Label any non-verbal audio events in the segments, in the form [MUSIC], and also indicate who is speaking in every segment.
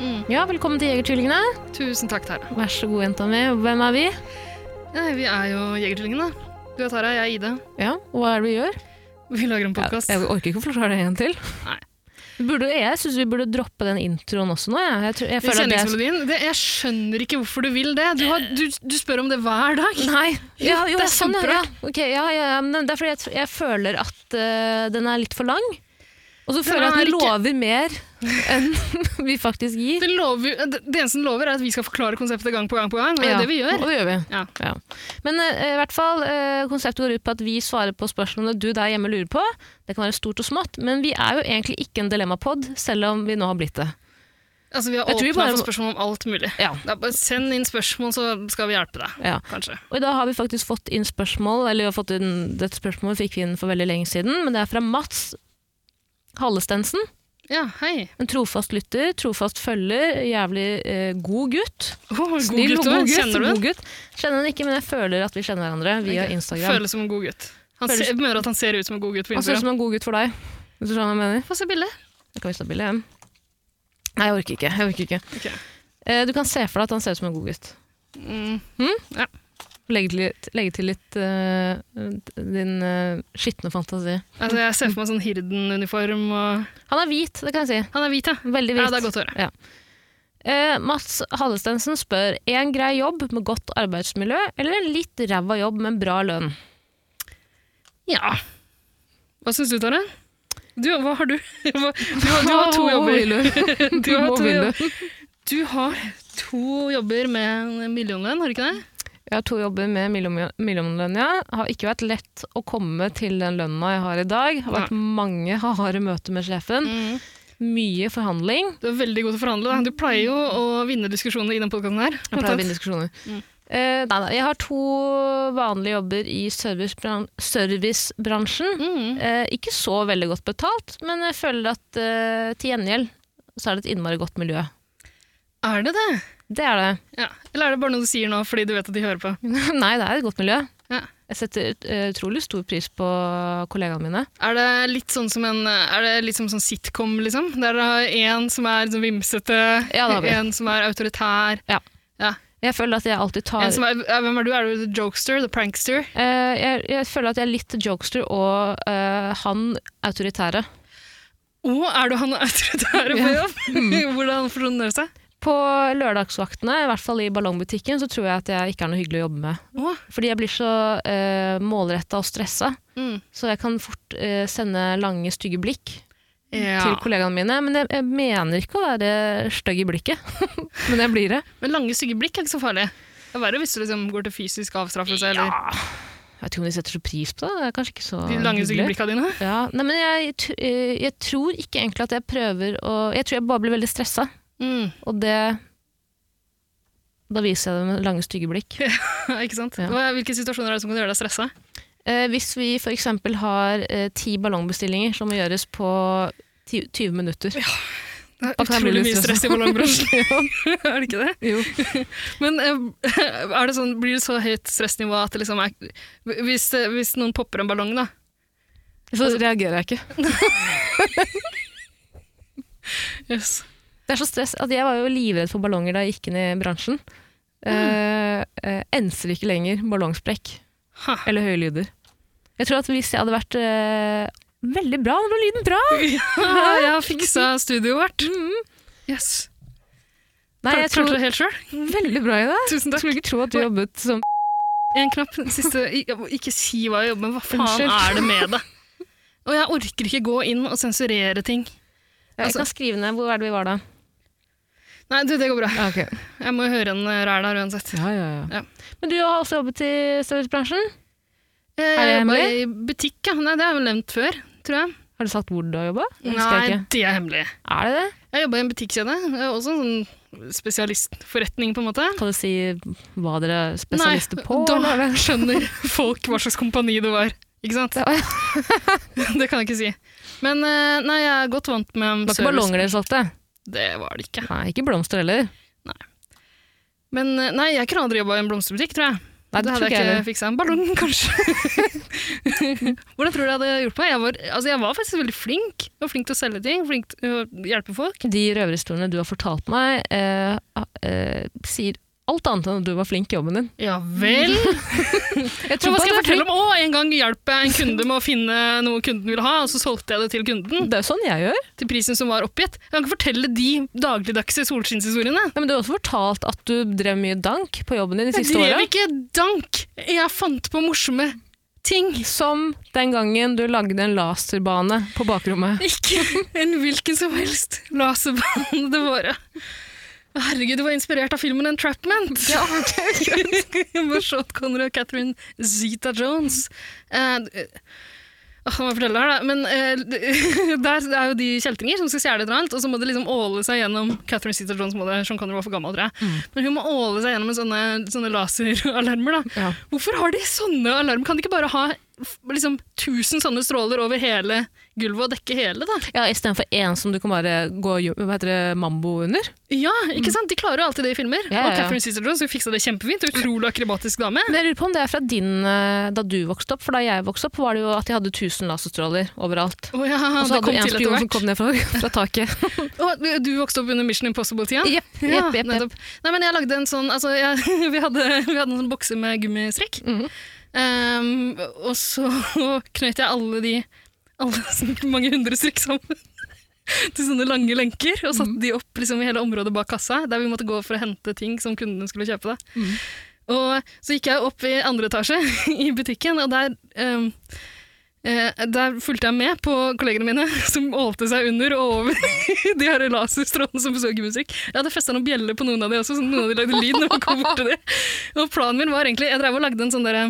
Speaker 1: Mm.
Speaker 2: Ja, velkommen til Jegertvillingene.
Speaker 1: Tusen takk, Tara.
Speaker 2: Vær så god, jenta mi. Hvem er vi?
Speaker 1: Nei, vi er jo Jegertvillingene. Du er Tara, jeg er Ida.
Speaker 2: Ja, og hva er det vi gjør?
Speaker 1: Vi lager en podkast.
Speaker 2: Jeg, jeg orker ikke å forklare det en gang til.
Speaker 1: Nei.
Speaker 2: Vi Burde, jeg syns vi burde droppe den introen også nå. Jeg, jeg, tror, jeg føler at det
Speaker 1: Kjenningsmelodien. Det, jeg skjønner ikke hvorfor du vil det. Du, har, du, du spør om det hver dag.
Speaker 2: Nei. Ja, jo,
Speaker 1: det er
Speaker 2: sånn, ja.
Speaker 1: kjemperart.
Speaker 2: Ok, ja, ja, ja, men det er fordi jeg, jeg føler at øh, den er litt for lang. Og så føler jeg at
Speaker 1: er
Speaker 2: den
Speaker 1: ikke-
Speaker 2: lover mer enn [LAUGHS] vi faktisk gir.
Speaker 1: Det, lover, det det eneste den lover, er at vi skal forklare konseptet gang på gang på gang. Og det er
Speaker 2: Ja,
Speaker 1: det vi gjør.
Speaker 2: Og det gjør vi.
Speaker 1: Ja.
Speaker 2: Ja. Men eh, i hvert fall, eh, konseptet går ut på at vi svarer på spørsmålene du der hjemme lurer på. Det kan være stort og smått, men vi er jo egentlig ikke en dilemmapod, selv om vi nå har blitt det.
Speaker 1: Altså, vi har
Speaker 2: Jeg tror vi
Speaker 1: åpna
Speaker 2: bare må-
Speaker 1: for spørsmål om alt mulig.
Speaker 2: Ja.
Speaker 1: Da, bare send inn spørsmål, så skal vi hjelpe deg.
Speaker 2: Ja.
Speaker 1: Kanskje.
Speaker 2: Og i dag har vi faktisk fått inn spørsmål, eller vi har fått inn dette spørsmålet fikk vi inn for veldig lenge siden, men det er fra Mats Hallestensen.
Speaker 1: Ja, hei.
Speaker 2: En trofast lytter, trofast følger, jævlig eh, god gutt.
Speaker 1: Oh, god
Speaker 2: Snill
Speaker 1: gutt,
Speaker 2: og god gutt.
Speaker 1: også. Kjenner du
Speaker 2: god gutt. Kjenner han ikke, men jeg føler at vi kjenner hverandre via
Speaker 1: Ok.
Speaker 2: Instagram.
Speaker 1: Føles som en god gutt. Han
Speaker 2: Føles-
Speaker 1: ser, jeg mener at han ser ut som en god gutt på
Speaker 2: Han ser ut
Speaker 1: Instagram.
Speaker 2: som en god gutt for deg. Hvis du skjønner hva jeg mener.
Speaker 1: Få se bildet.
Speaker 2: Jeg kan vise deg bildet. Nei, jeg orker ikke. Jeg orker ikke.
Speaker 1: Ok.
Speaker 2: Eh, Du kan se for deg at han ser ut som en god gutt.
Speaker 1: Mm.
Speaker 2: Legge til litt, legge til litt eh, din eh, skitne fantasi.
Speaker 1: Altså, jeg ser for meg sånn Hirden-uniform og
Speaker 2: Han er hvit, det kan jeg si.
Speaker 1: Han er hvit, ja.
Speaker 2: Veldig hvit.
Speaker 1: Ja, det er godt å høre.
Speaker 2: Eh, Mats Hallestensen spør en grei jobb med godt arbeidsmiljø eller en litt ræva jobb med en bra lønn.
Speaker 1: Ja. Hva syns du, Tare? Du, hva har du? [LAUGHS] Hva- [LAUGHS] Du har, du har to jobber. [LAUGHS] Du har
Speaker 2: må
Speaker 1: to,
Speaker 2: vinne.
Speaker 1: jobb- du har to jobber med en millionlønn, har du ikke det?
Speaker 2: Jeg har to jobber med millom- millionlønn, ja. Har ikke vært lett å komme til den lønna jeg har i dag. Har vært mange harde møter med sjefen. Mye forhandling.
Speaker 1: Mm. Du er veldig god til å forhandle. Da. Du pleier jo å vinne diskusjoner i denne podkasten her.
Speaker 2: Jeg pleier å vinne diskusjoner.
Speaker 1: Mm.
Speaker 2: Eh, nei, nei, jeg har to vanlige jobber i servicebran servicebransjen.
Speaker 1: Mm.
Speaker 2: Eh, ikke så veldig godt betalt, men jeg føler at eh, til gjengjeld så er det et innmari godt miljø.
Speaker 1: Er det det?
Speaker 2: Det er det. [LAUGHS]
Speaker 1: Ja. Eller er det bare noe du sier nå fordi du vet at de hører på?
Speaker 2: nei, det er et godt miljø.
Speaker 1: Ja.
Speaker 2: Jeg setter ut- eh, utrolig stor pris på kollegaene mine.
Speaker 1: Er det litt sånn som en er det litt som sånn sitcom, liksom? Der det er en som er liksom vimsete,
Speaker 2: Ja, det har vi.
Speaker 1: en som er autoritær
Speaker 2: Jeg føler at jeg alltid tar
Speaker 1: en som er, eh, Hvem er du? Er du the jokester? The prankster?
Speaker 2: eh, jeg, jeg føler at jeg er litt jokester og eh, han autoritære.
Speaker 1: Og er du han [LAUGHS] autoritære på
Speaker 2: Ja.
Speaker 1: [LAUGHS] jobb? Hvordan forsoner det seg?
Speaker 2: På lørdagsvaktene, i hvert fall i ballongbutikken, så tror jeg at jeg ikke er noe hyggelig å jobbe med.
Speaker 1: Å,
Speaker 2: Fordi jeg blir så uh, målretta og stressa,
Speaker 1: mm.
Speaker 2: så jeg kan fort eh, sende lange, stygge blikk
Speaker 1: ja.
Speaker 2: til kollegaene mine. Men jeg, jeg mener ikke å være stygg i blikket, [LAUGHS] men jeg blir det.
Speaker 1: Men lange, stygge blikk er ikke så farlig. Det er verre hvis du liksom går til fysisk avstraffelse eller
Speaker 2: Jeg vet ikke om de setter så pris på det. Det er kanskje ikke så
Speaker 1: de lange, stygge blikka dine.
Speaker 2: Ja, nei, men jeg, t- eh, jeg tror ikke egentlig at jeg prøver å Jeg tror jeg bare blir veldig stressa,
Speaker 1: [LAUGHS] Mm.
Speaker 2: og det Da viser jeg det med lange, stygge blikk.
Speaker 1: [LAUGHS] ikke sant?
Speaker 2: Ja.
Speaker 1: Hva- Hvilke situasjoner er det som kan gjøre deg stressa?
Speaker 2: Eh, hvis vi f.eks. har eh, ti ballongbestillinger som må gjøres på ti, 20 minutter
Speaker 1: Det er
Speaker 2: Da kan jeg bli
Speaker 1: utrolig
Speaker 2: litt
Speaker 1: mye stress i [LAUGHS] ballongbransjen.
Speaker 2: [LAUGHS]
Speaker 1: er det ikke det?
Speaker 2: Jo.
Speaker 1: Men eh, [LAUGHS] er det sånn, blir det så høyt stressnivå at det liksom er hvis, det- hvis noen popper en ballong, da
Speaker 2: Så reagerer jeg ikke.
Speaker 1: yes.
Speaker 2: Det er så stress at jeg var jo livredd for ballonger da jeg gikk inn i bransjen. Eh, eh, enser ikke lenger ballongsprekk
Speaker 1: Ha. [LAUGHS]
Speaker 2: eller høye lyder. Jeg tror at hvis jeg hadde vært eh, Veldig bra, nå ble lyden bra!
Speaker 1: Jeg har fiksa studioet vårt.
Speaker 2: Mhm.
Speaker 1: Yes.
Speaker 2: Nei, jeg
Speaker 1: Klarte
Speaker 2: tror
Speaker 1: det helt sjøl.
Speaker 2: Veldig bra i det.
Speaker 1: Tusen
Speaker 2: Jeg
Speaker 1: takk.
Speaker 2: skulle ikke tro at du jobbet som
Speaker 1: En knapp. den Siste. Ik- Ikke si hva jeg jobber med. Hva faen
Speaker 2: Unnskyld.
Speaker 1: er det med deg? [LAUGHS] Og jeg orker ikke gå inn og sensurere ting.
Speaker 2: Jeg
Speaker 1: Altså,
Speaker 2: kan skrive ned hvor er det vi var da.
Speaker 1: Nei, du, det går bra.
Speaker 2: Ja, ok.
Speaker 1: Jeg må jo høre en eh, ræl her uansett.
Speaker 2: ja, ja, ja.
Speaker 1: Ja.
Speaker 2: Men du har også jobbet i servicebransjen.
Speaker 1: Eh,
Speaker 2: Er
Speaker 1: Jeg
Speaker 2: det
Speaker 1: jobber
Speaker 2: hemmelig?
Speaker 1: i butikk, ja. Nei, det er vel nevnt før, tror jeg.
Speaker 2: Har du sagt hvor du har jobba?
Speaker 1: Nei, det er hemmelig.
Speaker 2: Er det det?
Speaker 1: Jeg jobba i en butikkjede. eh, Også en sånn spesialistforretning, på en måte.
Speaker 2: Kan du si hva dere er spesialister på? eller?
Speaker 1: da [LAUGHS] skjønner folk hva slags kompani det var. Ikke sant?
Speaker 2: Ja, ja.
Speaker 1: [LAUGHS] Det kan jeg ikke si. Men eh, nei, jeg er godt vant med
Speaker 2: Det var ikke ballonger dere solgte?
Speaker 1: Det var det ikke.
Speaker 2: Nei, ikke blomster heller.
Speaker 1: Men eh, nei, jeg kunne aldri jobba i en blomsterbutikk, tror jeg.
Speaker 2: Nei,
Speaker 1: det
Speaker 2: det
Speaker 1: hadde
Speaker 2: tror ikke jeg
Speaker 1: jeg
Speaker 2: heller.
Speaker 1: ikke fiksa. En ballong,
Speaker 2: [LAUGHS]
Speaker 1: [LAUGHS] kanskje. Hvordan tror du jeg hadde gjort meg? Jeg var, altså, jeg var faktisk veldig flink. Jeg var flink til å selge ting, flink til å hjelpe folk.
Speaker 2: De røverhistoriene du har fortalt meg, eh, eh, sier alt annet enn at du var flink i jobben din.
Speaker 1: Ja vel?
Speaker 2: Jeg
Speaker 1: Hva
Speaker 2: på
Speaker 1: skal jeg
Speaker 2: at du er
Speaker 1: fortelle om? Å, en gang hjalp jeg en kunde med å finne noe kunden ville ha, og så solgte jeg det til kunden.
Speaker 2: flink. Det er jo sånn jeg gjør.
Speaker 1: Til prisen som var oppgitt. Jeg kan ikke fortelle de dagligdagse solskinnshistoriene.
Speaker 2: Ja, men du har også fortalt at du drev mye dank på jobben din de
Speaker 1: Jeg
Speaker 2: siste åra.
Speaker 1: drev ikke dank! Jeg fant på morsomme ting.
Speaker 2: Som den gangen du lagde en laserbane på bakrommet.
Speaker 1: Ikke en hvilken som helst laserbane det var. Herregud, det var inspirert av filmen Entrapment. Ja, [LAUGHS] Med Sean Connery og Catherine Zeta-Jones. Eh, åh, hva forteller jeg her, da? Men eh, [LAUGHS] der er jo de kjeltringer som skal stjele et eller annet, og så må de liksom åle seg gjennom Catherine Zeta-Jones, må det, Sean Connery var for gammel, tror jeg. Men hun må åle seg gjennom en sånne, sånne laseralarmer, da.
Speaker 2: Ja.
Speaker 1: Hvorfor har de sånne alarm? Kan de ikke bare ha f- liksom, tusen sånne stråler over hele gulvet og dekke hele, da?
Speaker 2: Ja, Istedenfor én som du kan bare gå jo- hva heter det, mambo under.
Speaker 1: Ja, ikke sant? De klarer jo alltid det i filmer.
Speaker 2: Ja, ja,
Speaker 1: Og
Speaker 2: ja.
Speaker 1: Catherine Sisterjones fiksa det kjempefint. Utrolig akrobatisk dame.
Speaker 2: Men jeg lurer på om det er fra din, eh, da du vokste opp, for da jeg vokste opp var det jo at de hadde 1000 laserstråler overalt.
Speaker 1: Å ja,
Speaker 2: Og så
Speaker 1: det
Speaker 2: hadde
Speaker 1: kom
Speaker 2: du en
Speaker 1: til etter
Speaker 2: spion som
Speaker 1: hvert.
Speaker 2: kom ned fra, fra taket.
Speaker 1: Å, du- du vokste opp under Mission Impossible-tida?
Speaker 2: Jepp,
Speaker 1: Ja,
Speaker 2: jepp, jepp, jepp.
Speaker 1: nettopp. Nei, men jeg lagde en sånn altså, jeg, [LAUGHS] vi, hadde, vi hadde en sånn bokse med gummistrekk.
Speaker 2: Mhm.
Speaker 1: Ehm, og så [LAUGHS] knøt jeg alle de alle, [LAUGHS] sånn mange hundre strekk sammen [LAUGHS] til sånne lange lenker, og
Speaker 2: Mhm.
Speaker 1: satte de opp liksom, i hele området bak kassa, der vi måtte gå for å hente ting som kundene skulle kjøpe. Da. Og så gikk jeg opp i andre etasje [LAUGHS] i butikken, og der ehm, Eh, der fulgte jeg med på kollegene mine, [LAUGHS] som ålte seg under og over [LAUGHS] de her laserstrålene som besøker musikk. Jeg hadde festa noen bjeller på noen av de også, så noen av de lagde lyd når man kom bort til de. [LAUGHS] Og planen min var egentlig Jeg drev og lagde en sånn derre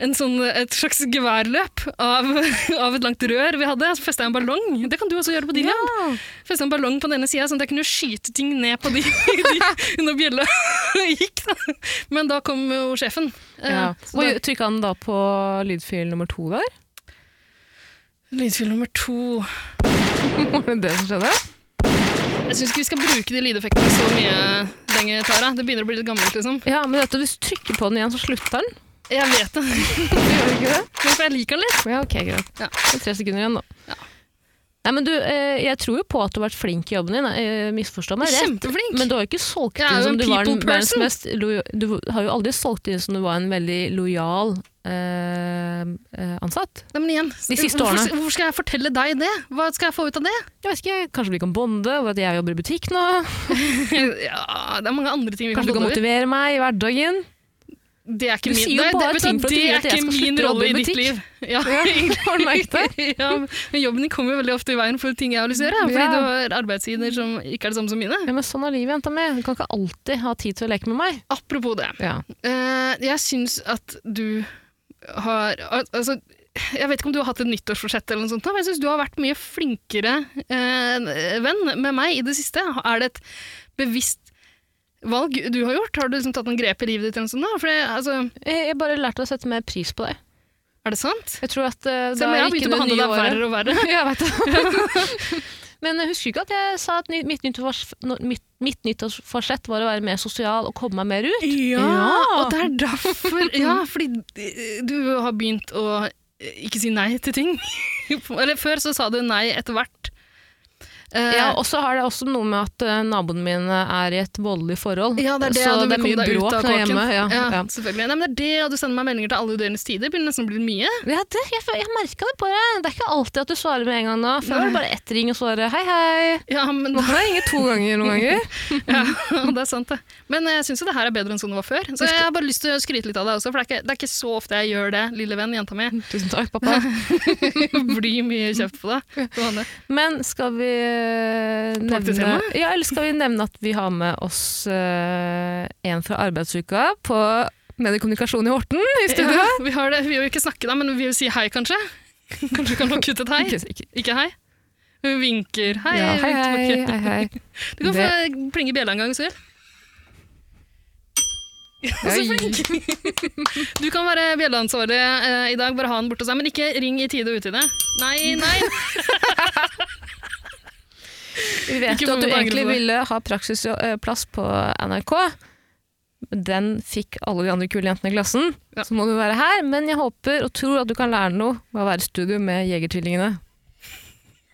Speaker 1: en sånn, et slags geværløp av, [LAUGHS] av et langt rør vi hadde. Så festa jeg en ballong. Det kan du også gjøre på din jobb. Festa en ballong på den ene sida, sånn at jeg kunne skyte ting ned på de, [LAUGHS] de når bjella [LAUGHS] gikk. Da. Men da kom jo sjefen. Eh,
Speaker 2: Ja.
Speaker 1: så da-
Speaker 2: Og trykka han da på lydfil nummer to der?
Speaker 1: Lydfil nummer to.
Speaker 2: Var det det som skjedde?
Speaker 1: Jeg syns ikke vi skal bruke de lydeffektene så mye lenger, Tara. Det begynner å bli litt gammelt, liksom.
Speaker 2: Ja, men vet du, Hvis du trykker på den igjen, så slutter den.
Speaker 1: Jeg vet det,
Speaker 2: Gjør du ikke det?
Speaker 1: men for jeg liker den litt.
Speaker 2: Ja, ok, greit.
Speaker 1: Ja.
Speaker 2: Det er tre sekunder igjen, da. Nei, men du, eh, Jeg tror jo på at du har vært flink i jobben din, eh, misforstå meg rett.
Speaker 1: Kjempeflink.
Speaker 2: Men du har jo ikke solgt
Speaker 1: Jeg er
Speaker 2: inn
Speaker 1: jo
Speaker 2: som
Speaker 1: en
Speaker 2: du var den
Speaker 1: people
Speaker 2: verdens
Speaker 1: person.
Speaker 2: mest lo- Du har jo aldri solgt inn som du var en veldig lojal eh, eh, ansatt.
Speaker 1: Nei, men igjen,
Speaker 2: De siste
Speaker 1: hvorfor,
Speaker 2: årene.
Speaker 1: hvorfor skal jeg fortelle deg det? Hva skal jeg få ut av det? [LAUGHS]
Speaker 2: Jeg vet ikke, Kanskje vi kan bonde over at jeg jobber i butikk nå?
Speaker 1: Ja, det er mange andre ting vi
Speaker 2: Kanskje du kan
Speaker 1: kan over.
Speaker 2: motivere meg i hverdagen?
Speaker 1: Det er ikke
Speaker 2: Du
Speaker 1: min,
Speaker 2: sier jo
Speaker 1: Nei,
Speaker 2: bare
Speaker 1: det, vet du
Speaker 2: ting
Speaker 1: hva,
Speaker 2: for å
Speaker 1: det
Speaker 2: tyde
Speaker 1: er
Speaker 2: at jeg
Speaker 1: ikke
Speaker 2: skal
Speaker 1: min
Speaker 2: slutte å jobbe
Speaker 1: rolle
Speaker 2: i
Speaker 1: i ditt
Speaker 2: butikk. [LAUGHS]
Speaker 1: liv. Ja. [LAUGHS]
Speaker 2: Har du merket det?
Speaker 1: ja, men jobben din kommer jo veldig ofte i veien for ting jeg har lyst til å gjøre. Fordi
Speaker 2: Ja.
Speaker 1: du har arbeidssider som ikke er det samme som mine.
Speaker 2: Ja, men sånn er livet, jenta mi. Du kan ikke alltid ha tid til å leke med meg.
Speaker 1: Apropos det.
Speaker 2: Ja.
Speaker 1: Eh, jeg syns at du har al- altså, Jeg vet ikke om du har hatt et nyttårsforsett, eller noe sånt, men jeg syns du har vært mye flinkere eh, venn med meg i det siste. Er det et bevisst valg du har gjort? Har du liksom tatt noen grep i livet ditt? eller noe sånt, da? For det, altså,
Speaker 2: Jeg jeg bare lærte å sette mer pris på det.
Speaker 1: er det sant?
Speaker 2: Jeg tror at eh,
Speaker 1: Selv
Speaker 2: da
Speaker 1: om jeg har
Speaker 2: gikk
Speaker 1: begynt
Speaker 2: det
Speaker 1: å behandle
Speaker 2: nye
Speaker 1: deg
Speaker 2: året-
Speaker 1: verre og verre.
Speaker 2: [LAUGHS] jeg vet det. [LAUGHS] Men jeg husker ikke at jeg sa at ny- mitt nyttårs- no- mitt- mitt nyttårsforsett var å være mer sosial og komme meg mer ut.
Speaker 1: Ja,
Speaker 2: Ja.
Speaker 1: og det er derfor [LAUGHS] Ja, fordi eh, du har begynt å eh, ikke si nei til ting. [LAUGHS] Eller før så sa du nei etter hvert. Eh,
Speaker 2: Ja, og så har det også noe med at eh, naboene mine er i et voldelig forhold.
Speaker 1: Ja, det er det.
Speaker 2: så det
Speaker 1: du
Speaker 2: er
Speaker 1: vil komme
Speaker 2: mye
Speaker 1: deg ut
Speaker 2: bråk
Speaker 1: av
Speaker 2: når jeg er
Speaker 1: kåken.
Speaker 2: hjemme. Ja, ja. Ja.
Speaker 1: selvfølgelig. Nei, men det er det, og du sender meg meldinger til alle døgnets tider. Begynner nesten å bli mye.
Speaker 2: det, jeg jeg merka det på deg. Det er ikke alltid at du svarer med en gang nå. Før var det bare ett ring og svarer hei, hei.
Speaker 1: Ja, men,
Speaker 2: Nå kan jeg ringe to ganger noen ganger.
Speaker 1: [LAUGHS] ja, det er sant, det. Men eh, jeg syns jo det her er bedre enn sånn det var før. Så jeg har bare lyst til å skryte litt av deg også, for det er ikke, det er ikke så ofte jeg gjør det, lille venn, jenta mi. [LAUGHS]
Speaker 2: Tusen takk, pappa.
Speaker 1: Jeg blir mye kjeft på deg. Johanne.
Speaker 2: Men skal vi eh, nevne
Speaker 1: Partitema?
Speaker 2: ja, eller skal vi nevne at vi har med oss eh, en fra arbeidsuka på mediekommunikasjon i Horten i studio?
Speaker 1: Ja, vi [LAUGHS] har det. Vi vil jo ikke snakke da, men vi vil si hei, kanskje? Kanskje du kan lukke ut et hei?
Speaker 2: Ikke- ikke-
Speaker 1: Ikke hei? Hun vinker. Hei,
Speaker 2: Ja,
Speaker 1: jeg
Speaker 2: hei,
Speaker 1: vinker
Speaker 2: hei,
Speaker 1: tilbake.
Speaker 2: hei,
Speaker 1: [LAUGHS]
Speaker 2: hei.
Speaker 1: Du kan få plinge i bjella en gang, Sil. Så flink! Du kan være bjelleansvarlig eh, i dag. Bare ha den borte hos deg. Men ikke ring i tide og utide. Nei, nei.
Speaker 2: [LAUGHS] Vi vet
Speaker 1: Ikke
Speaker 2: jo at
Speaker 1: for
Speaker 2: du
Speaker 1: mange
Speaker 2: egentlig
Speaker 1: grunner.
Speaker 2: ville ha praksisplass på NRK. Den fikk alle de andre kule jentene i klassen.
Speaker 1: Ja.
Speaker 2: Så må du være her, men jeg håper og tror at du kan lære noe med å være i studio med Jegertvillingene.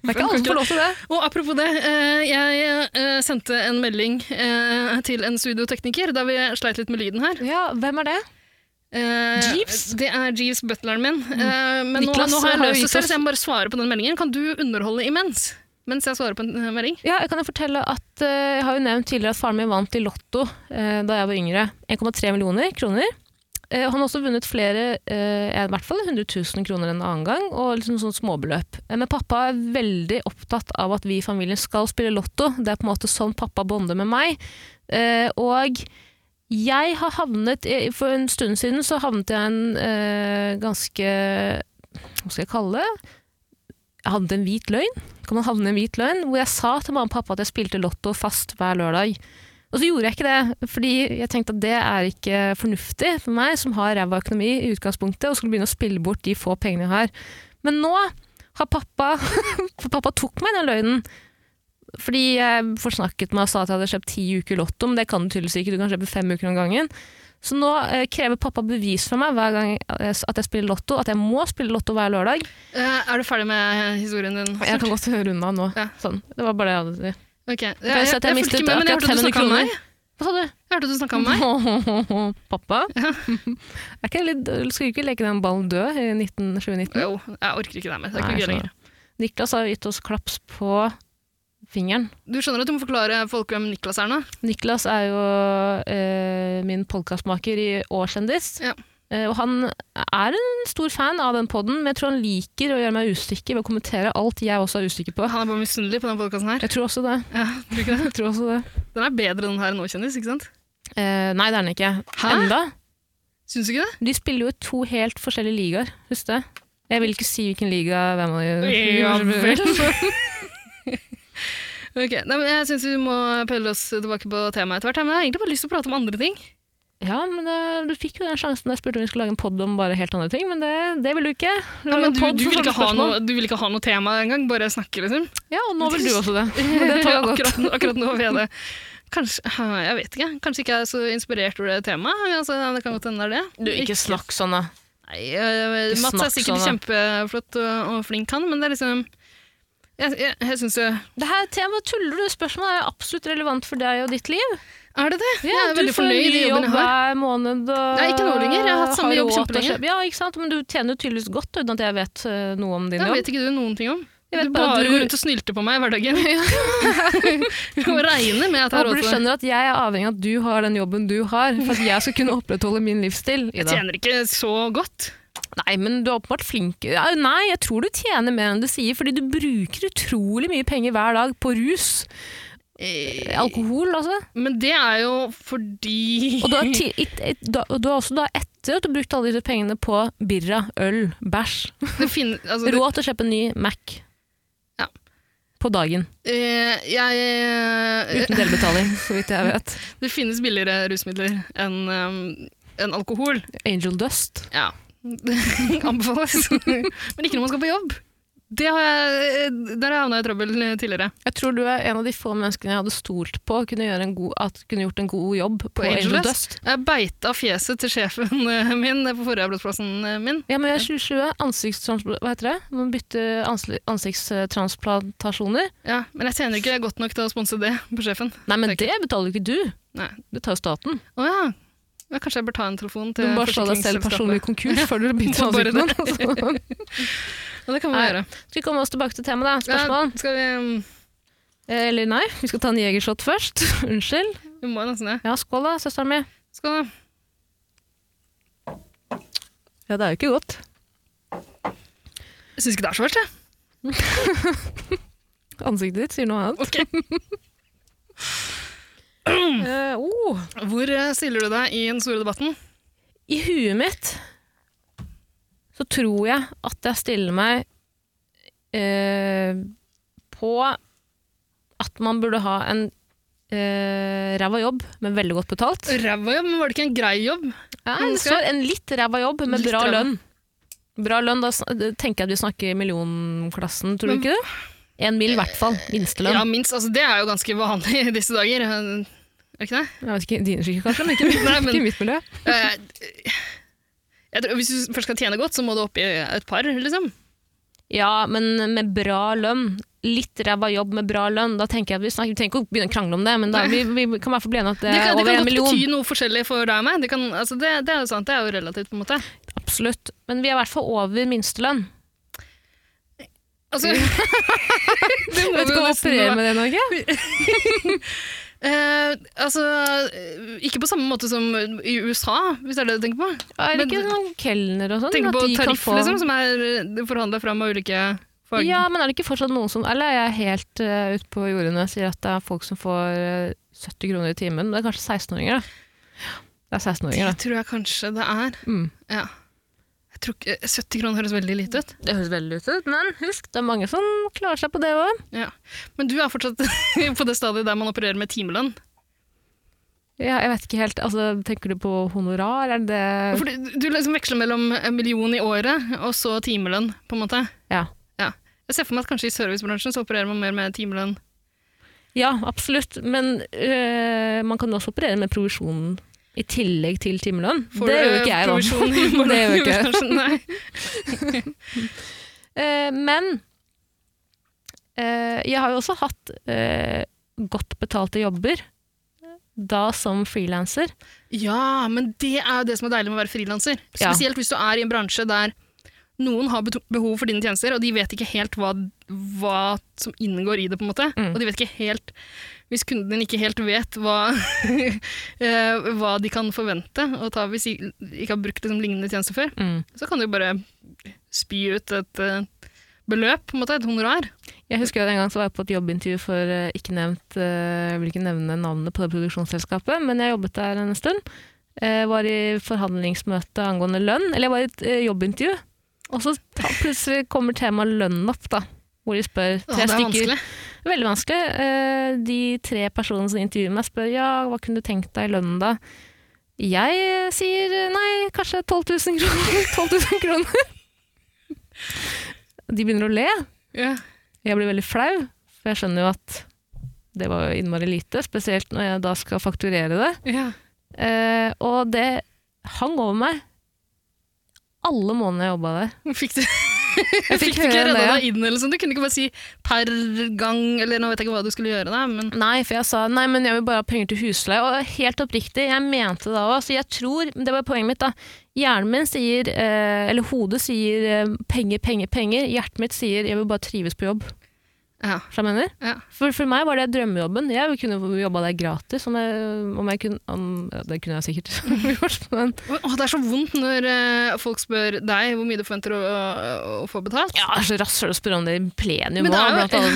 Speaker 2: Det er ikke alle som får lov til det.
Speaker 1: Og apropos det, eh, jeg eh, sendte en melding eh, til en studiotekniker da vi sleit litt med lyden her.
Speaker 2: Ja, hvem er det?
Speaker 1: Eh,
Speaker 2: Jeeves? Mm.
Speaker 1: Det er Jeeves, butleren min. Eh, men nå,
Speaker 2: Niklas
Speaker 1: nå har jeg
Speaker 2: har jo
Speaker 1: løst det
Speaker 2: gitt
Speaker 1: selv,
Speaker 2: oss-
Speaker 1: så jeg må bare svare på den meldingen. Kan du underholde imens? Mens jeg svarer på en eh, melding?
Speaker 2: Ja, jeg kan jo fortelle at eh, Jeg har jo nevnt tidligere at faren min vant i Lotto eh, da jeg var yngre. 1,3 millioner kroner. Eh, han har også vunnet flere, eh, i hvert fall 100 000 kroner en annen gang, og liksom sånn småbeløp. Eh, men pappa er veldig opptatt av at vi i familien skal spille Lotto. Det er på en måte sånn pappa bonder med meg. Eh, og jeg har havnet i- For en stund siden så havnet jeg i en eh, ganske Hva skal jeg kalle det? Jeg havnet i en hvit løgn kan man havne i en hvit løgn, hvor jeg sa til mamma og pappa at jeg spilte lotto fast hver lørdag. Og så gjorde jeg ikke det, fordi jeg tenkte at det er ikke fornuftig for meg, som har ræva økonomi i utgangspunktet, og skulle begynne å spille bort de få pengene jeg har. Men nå har pappa [LAUGHS] For pappa tok meg i den løgnen. Fordi jeg forsnakket meg og sa at jeg hadde kjøpt ti uker lotto, men det kan du tydeligvis ikke, du kan kjøpe fem uker om gangen. Så nå eh, krever pappa bevis fra meg hver gang jeg- at jeg spiller lotto, at jeg må spille lotto hver lørdag.
Speaker 1: Eh, er du ferdig med historien din?
Speaker 2: Jeg kan godt høre unna nå.
Speaker 1: Ja.
Speaker 2: Sånn. Det var bare det jeg hadde å si.
Speaker 1: Ok. Jeg,
Speaker 2: jeg si
Speaker 1: jeg,
Speaker 2: at
Speaker 1: jeg,
Speaker 2: jeg
Speaker 1: fulgte
Speaker 2: mistet
Speaker 1: ikke med, men jeg
Speaker 2: akkurat
Speaker 1: hørte du
Speaker 2: 500
Speaker 1: snakka om meg.
Speaker 2: Hva sa du?
Speaker 1: Jeg hørte du snakket om meg.
Speaker 2: [LAUGHS] Pappa?
Speaker 1: [LAUGHS] Ja.
Speaker 2: Er ikke det litt, skal vi ikke leke den ballen død i 19, 2019?
Speaker 1: Jo, jeg orker ikke det mer. Det er
Speaker 2: Nei,
Speaker 1: ikke gøy
Speaker 2: skjønner.
Speaker 1: lenger.
Speaker 2: Niklas har gitt oss klaps på fingeren.
Speaker 1: Du skjønner at du må forklare folk hvem Niklas er nå?
Speaker 2: Niklas er jo eh, min podkastmaker i Årskjendis.
Speaker 1: Ja.
Speaker 2: Eh, og han er en stor fan av den poden, men jeg tror han liker å gjøre meg usikker ved å kommentere alt jeg også er usikker på.
Speaker 1: Han er bare misunnelig på denne podkasten her.
Speaker 2: Jeg tror også det.
Speaker 1: Ja, tror du ikke det?
Speaker 2: Jeg tror også det.
Speaker 1: Den er bedre enn den her nå, kjendis, ikke sant?
Speaker 2: Eh, nei, det er han ikke.
Speaker 1: Hæ?
Speaker 2: Enda.
Speaker 1: Syns du ikke det?
Speaker 2: De spiller jo i to helt forskjellige ligaer, husk det. Jeg vil ikke si hvilken liga hvem av de [LAUGHS]
Speaker 1: Ja vel. Ok, Nei, men Jeg syns vi må pelle oss tilbake på temaet etter hvert. her, Men jeg har egentlig bare lyst til å prate om andre ting.
Speaker 2: Ja, men det, du fikk jo den sjansen da jeg spurte om vi skulle lage en pod om bare helt andre ting, men det, det vil du ikke.
Speaker 1: Ja,
Speaker 2: Lage
Speaker 1: men
Speaker 2: en
Speaker 1: du,
Speaker 2: podd
Speaker 1: du,
Speaker 2: for
Speaker 1: vil ikke
Speaker 2: sånne
Speaker 1: ha
Speaker 2: spørsmål.
Speaker 1: noe, du vil ikke ha noe tema engang, bare snakke, liksom?
Speaker 2: Ja, og nå vil du også det. Og [LAUGHS] det tar jeg godt.
Speaker 1: akkurat, akkurat nå vet jeg det. Kanskje, hæ, jeg vet ikke. Kanskje ikke jeg er så inspirert over det temaet. Altså, det kan godt hende det er det.
Speaker 2: Du, ikke snakk sånn, da.
Speaker 1: Nei, øh,
Speaker 2: Ikke
Speaker 1: Mats er
Speaker 2: snakk
Speaker 1: sikkert
Speaker 2: sånn,
Speaker 1: kjempeflott og, og flink, han, men det er liksom Jeg, jeg, jeg syns jo
Speaker 2: Det her temaet tuller du. Spørsmålet er absolutt relevant for deg og ditt liv.
Speaker 1: Er det det? jeg er
Speaker 2: du
Speaker 1: veldig
Speaker 2: får en
Speaker 1: fornøyd i
Speaker 2: ny
Speaker 1: jobben jeg har.
Speaker 2: hver måned. Og
Speaker 1: Nei, ikke nå lenger. Jeg har hatt samme jobb
Speaker 2: råd til å
Speaker 1: kjempelenge.
Speaker 2: kjøpe- Ja, ikke sant? Men du tjener jo tydeligvis godt uten at jeg vet eh, noe om din
Speaker 1: Det
Speaker 2: jobb.
Speaker 1: vet ikke du noen ting om.
Speaker 2: Jeg vet
Speaker 1: du
Speaker 2: bare
Speaker 1: bare
Speaker 2: at du-
Speaker 1: går rundt og snylter på meg i
Speaker 2: [LAUGHS]
Speaker 1: hverdagen. [LAUGHS] og regner med at jeg har
Speaker 2: Håper
Speaker 1: råd
Speaker 2: du
Speaker 1: til det.
Speaker 2: skjønner at jeg er avhengig av at du har den jobben du har, for at jeg skal kunne opprettholde min [LAUGHS] livsstil.
Speaker 1: Jeg
Speaker 2: Ida.
Speaker 1: tjener ikke så godt.
Speaker 2: Nei, men du er åpenbart flink. Ja, Nei, jeg tror du tjener mer enn du sier, fordi du bruker utrolig mye penger hver dag på rus. Alkohol, altså.
Speaker 1: Eh, Men det er jo fordi
Speaker 2: Og du har, ti, it, it, da, og du har også da etter at du brukte alle disse pengene på birra, øl, bæsj.
Speaker 1: [LAUGHS] det finnes, altså, det,
Speaker 2: Råd til å kjøpe en ny Mac.
Speaker 1: Ja.
Speaker 2: På dagen.
Speaker 1: eh, jeg, eh,
Speaker 2: Uten [LAUGHS] delbetaling, så vidt jeg vet.
Speaker 1: det finnes billigere rusmidler enn eh, enn alkohol.
Speaker 2: Angel Dust.
Speaker 1: Ja. [LAUGHS]
Speaker 2: [LAUGHS]
Speaker 1: Anbefales. Men ikke når man skal på jobb. Det har jeg, der har jeg havna i trøbbel tidligere.
Speaker 2: Jeg tror du er en av de få menneskene jeg hadde stolt på kunne, gjøre en god, at kunne gjort en god jobb på, Angel, Dust.
Speaker 1: Jeg beita fjeset til sjefen eh, min på forrige arbeidsplassen eh, min.
Speaker 2: Ja, men jeg er 2020. Ansiktstransplantasjoner Hva heter det? Man bytter ansli- ansiktstransplantasjoner.
Speaker 1: Ja, men jeg tjener ikke godt nok til å sponse det på sjefen.
Speaker 2: Nei, men
Speaker 1: Takk.
Speaker 2: det betaler jo ikke du.
Speaker 1: Nei.
Speaker 2: Det tar jo staten.
Speaker 1: Å ja. ja. Kanskje jeg bør ta en telefon
Speaker 2: Du
Speaker 1: til
Speaker 2: må bare slå deg selv personlig konkurs før du bytter
Speaker 1: Må bare det.
Speaker 2: ansiktene. [LAUGHS]
Speaker 1: Ja, det kan vi
Speaker 2: Nei,
Speaker 1: gjøre.
Speaker 2: Skal vi komme oss tilbake til temaet, da? Spørsmål?
Speaker 1: Ja, skal vi, um,
Speaker 2: Eh, Eller nei, vi skal ta en jegershot først. [LAUGHS] Unnskyld.
Speaker 1: vi må jo nesten det.
Speaker 2: Ja, skål da, søsteren min.
Speaker 1: Skal da.
Speaker 2: Ja, det er jo ikke godt.
Speaker 1: Jeg syns ikke det er så verst, jeg.
Speaker 2: Ansiktet ditt sier noe annet.
Speaker 1: Ok.
Speaker 2: [LAUGHS] Eh, oh.
Speaker 1: Hvor eh, stiller du deg i den store debatten?
Speaker 2: I huet mitt så tror jeg at jeg stiller meg eh, på at man burde ha en eh, ræva jobb, men veldig godt betalt.
Speaker 1: Ræva jobb, men var det ikke en grei jobb?
Speaker 2: Nei, det står en litt ræva jobb, men
Speaker 1: Litt
Speaker 2: bra
Speaker 1: ræva.
Speaker 2: lønn. Bra lønn, da sn- tenker jeg at vi snakker millionklassen, tror du
Speaker 1: Men-
Speaker 2: ikke det? En mil i hvert fall, minstelønn.
Speaker 1: Ja, minst. Altså, det er jo ganske vanlig i disse dager. eh, Er det ikke det?
Speaker 2: Jeg vet ikke, dine skikker kanskje, men ikke,
Speaker 1: [LAUGHS] Nei, men-
Speaker 2: ikke i mitt miljø.
Speaker 1: Eh, Jeg tror, hvis du først skal tjene godt, så må du opp i et par, liksom.
Speaker 2: Ja, men med bra lønn. Litt ræva jobb med bra lønn. Da tenker jeg at Vi snakker, vi trenger ikke å begynne å krangle om det, men da, vi, vi kan i hvert fall bli enige om at det
Speaker 1: [LAUGHS] Det
Speaker 2: er
Speaker 1: kan, det
Speaker 2: Eh, over
Speaker 1: kan
Speaker 2: en
Speaker 1: godt
Speaker 2: million.
Speaker 1: bety noe forskjellig for deg og meg. Det, kan, altså, det, det er jo sant, det er jo relativt, på en måte.
Speaker 2: Absolutt. Men vi er i hvert fall over minstelønn.
Speaker 1: [LAUGHS] Altså, det må
Speaker 2: Vet
Speaker 1: vi
Speaker 2: ikke
Speaker 1: jo
Speaker 2: hva
Speaker 1: nesten
Speaker 2: opererer
Speaker 1: være.
Speaker 2: med det, Norge?
Speaker 1: Eh, altså, eh, ikke på samme måte som i USA, hvis det er det du tenker på.
Speaker 2: Er det
Speaker 1: Men-
Speaker 2: ikke sånn kelner og sånn?
Speaker 1: Tenker
Speaker 2: at
Speaker 1: på
Speaker 2: de kan
Speaker 1: tariff,
Speaker 2: få-
Speaker 1: liksom, som er forhandla fram av ulike fag.
Speaker 2: Ja, men er det ikke fortsatt noen som Eller er jeg helt uh, ute på jordene og sier at det er folk som får eh, 70 kroner i timen? Det er kanskje 16-åringer, da. Det er 16-åringer,
Speaker 1: det
Speaker 2: da.
Speaker 1: tror jeg kanskje det er.
Speaker 2: Mm.
Speaker 1: Ja. Jeg tror ikke, 70 kroner høres veldig lite ut.
Speaker 2: Det høres veldig ut, men husk, det er mange som klarer seg på det òg.
Speaker 1: Ja. Men du er fortsatt [LAUGHS] på det stadiet der man opererer med timelønn.
Speaker 2: Ja, jeg vet ikke helt. Altså, tenker du på honorar? Er det det
Speaker 1: For du, du liksom veksler mellom en million i året og så timelønn, på en måte.
Speaker 2: Ja.
Speaker 1: Ja. Jeg ser for meg at kanskje i servicebransjen så opererer man mer med timelønn.
Speaker 2: ja, absolutt. Men øh, man kan jo også operere med provisjon i tillegg til timelønn.
Speaker 1: Får
Speaker 2: Det
Speaker 1: du,
Speaker 2: gjør jo
Speaker 1: eh,
Speaker 2: ikke jeg, da.
Speaker 1: provisjon i
Speaker 2: Det gjør jo ikke jeg.
Speaker 1: bransjen? Nei.
Speaker 2: [LAUGHS] Eh, men eh, jeg har jo også hatt eh, godt betalte jobber, da som frilanser.
Speaker 1: Ja, men det er jo det som er deilig med å være frilanser.
Speaker 2: Ja.
Speaker 1: Spesielt hvis du er i en bransje der noen har beto- behov for dine tjenester, og de vet ikke helt hva, hva som inngår i det, på en måte.
Speaker 2: Mm.
Speaker 1: Og de vet ikke helt Hvis kunden din ikke helt vet hva, [LAUGHS] eh, hva de kan forvente å ta hvis de ikke har brukt liksom, lignende tjenester før,
Speaker 2: Mm.
Speaker 1: så kan du jo bare spy ut et eh, beløp, på en måte, et honorar.
Speaker 2: Jeg husker at en gang så var jeg på et jobbintervju for eh, ikke nevnt, eh, jeg vil ikke nevne navnet på det produksjonsselskapet, men jeg jobbet der en stund. Jeg var i forhandlingsmøte angående lønn, eller jeg var i et eh, jobbintervju, og så ta, plutselig kommer temaet lønn opp da, hvor de spør
Speaker 1: Åh,
Speaker 2: tre
Speaker 1: det er
Speaker 2: stykker.
Speaker 1: vanskelig.
Speaker 2: Veldig vanskelig. Eh, De tre personene som intervjuer meg spør ja, hva kunne du tenkt deg i lønnen da? Jeg eh, sier eh, nei, kanskje 12 000 kroner. 12 000 kroner. De begynner å le.
Speaker 1: Ja.
Speaker 2: Jeg blir veldig flau, for jeg skjønner jo at det var jo innmari lite, spesielt når jeg da skal fakturere det.
Speaker 1: Ja.
Speaker 2: Eh, og det hang over meg alle månedene jeg jobba der.
Speaker 1: Fikk du
Speaker 2: Jeg
Speaker 1: [LAUGHS] Fikk du ikke redda deg inn, eller sånn? Du kunne ikke bare si per gang, eller nå vet jeg ikke hva du skulle gjøre, da, men
Speaker 2: Nei, for jeg sa nei, men jeg vil bare ha penger til husleie. Og helt oppriktig, jeg mente det òg. Så jeg tror, det var poenget mitt, da. Hjernen min sier, eh, eller hodet sier eh, penger, penger, penger. Hjertet mitt sier jeg vil bare trives på jobb.
Speaker 1: ja.
Speaker 2: skjønner du hva jeg mener?
Speaker 1: Ja.
Speaker 2: For, for meg var det drømmejobben. Jeg ville kunne jobba der gratis. Om jeg, om jeg kunne, om, ja, det kunne jeg sikkert [LAUGHS] gjort, men
Speaker 1: Åh, det er så vondt når eh, folk spør deg hvor mye du forventer å, å, å få betalt.
Speaker 2: ja, så rasshøl å spørre om det i plenum
Speaker 1: Men det
Speaker 2: òg,
Speaker 1: er jo-
Speaker 2: blant alle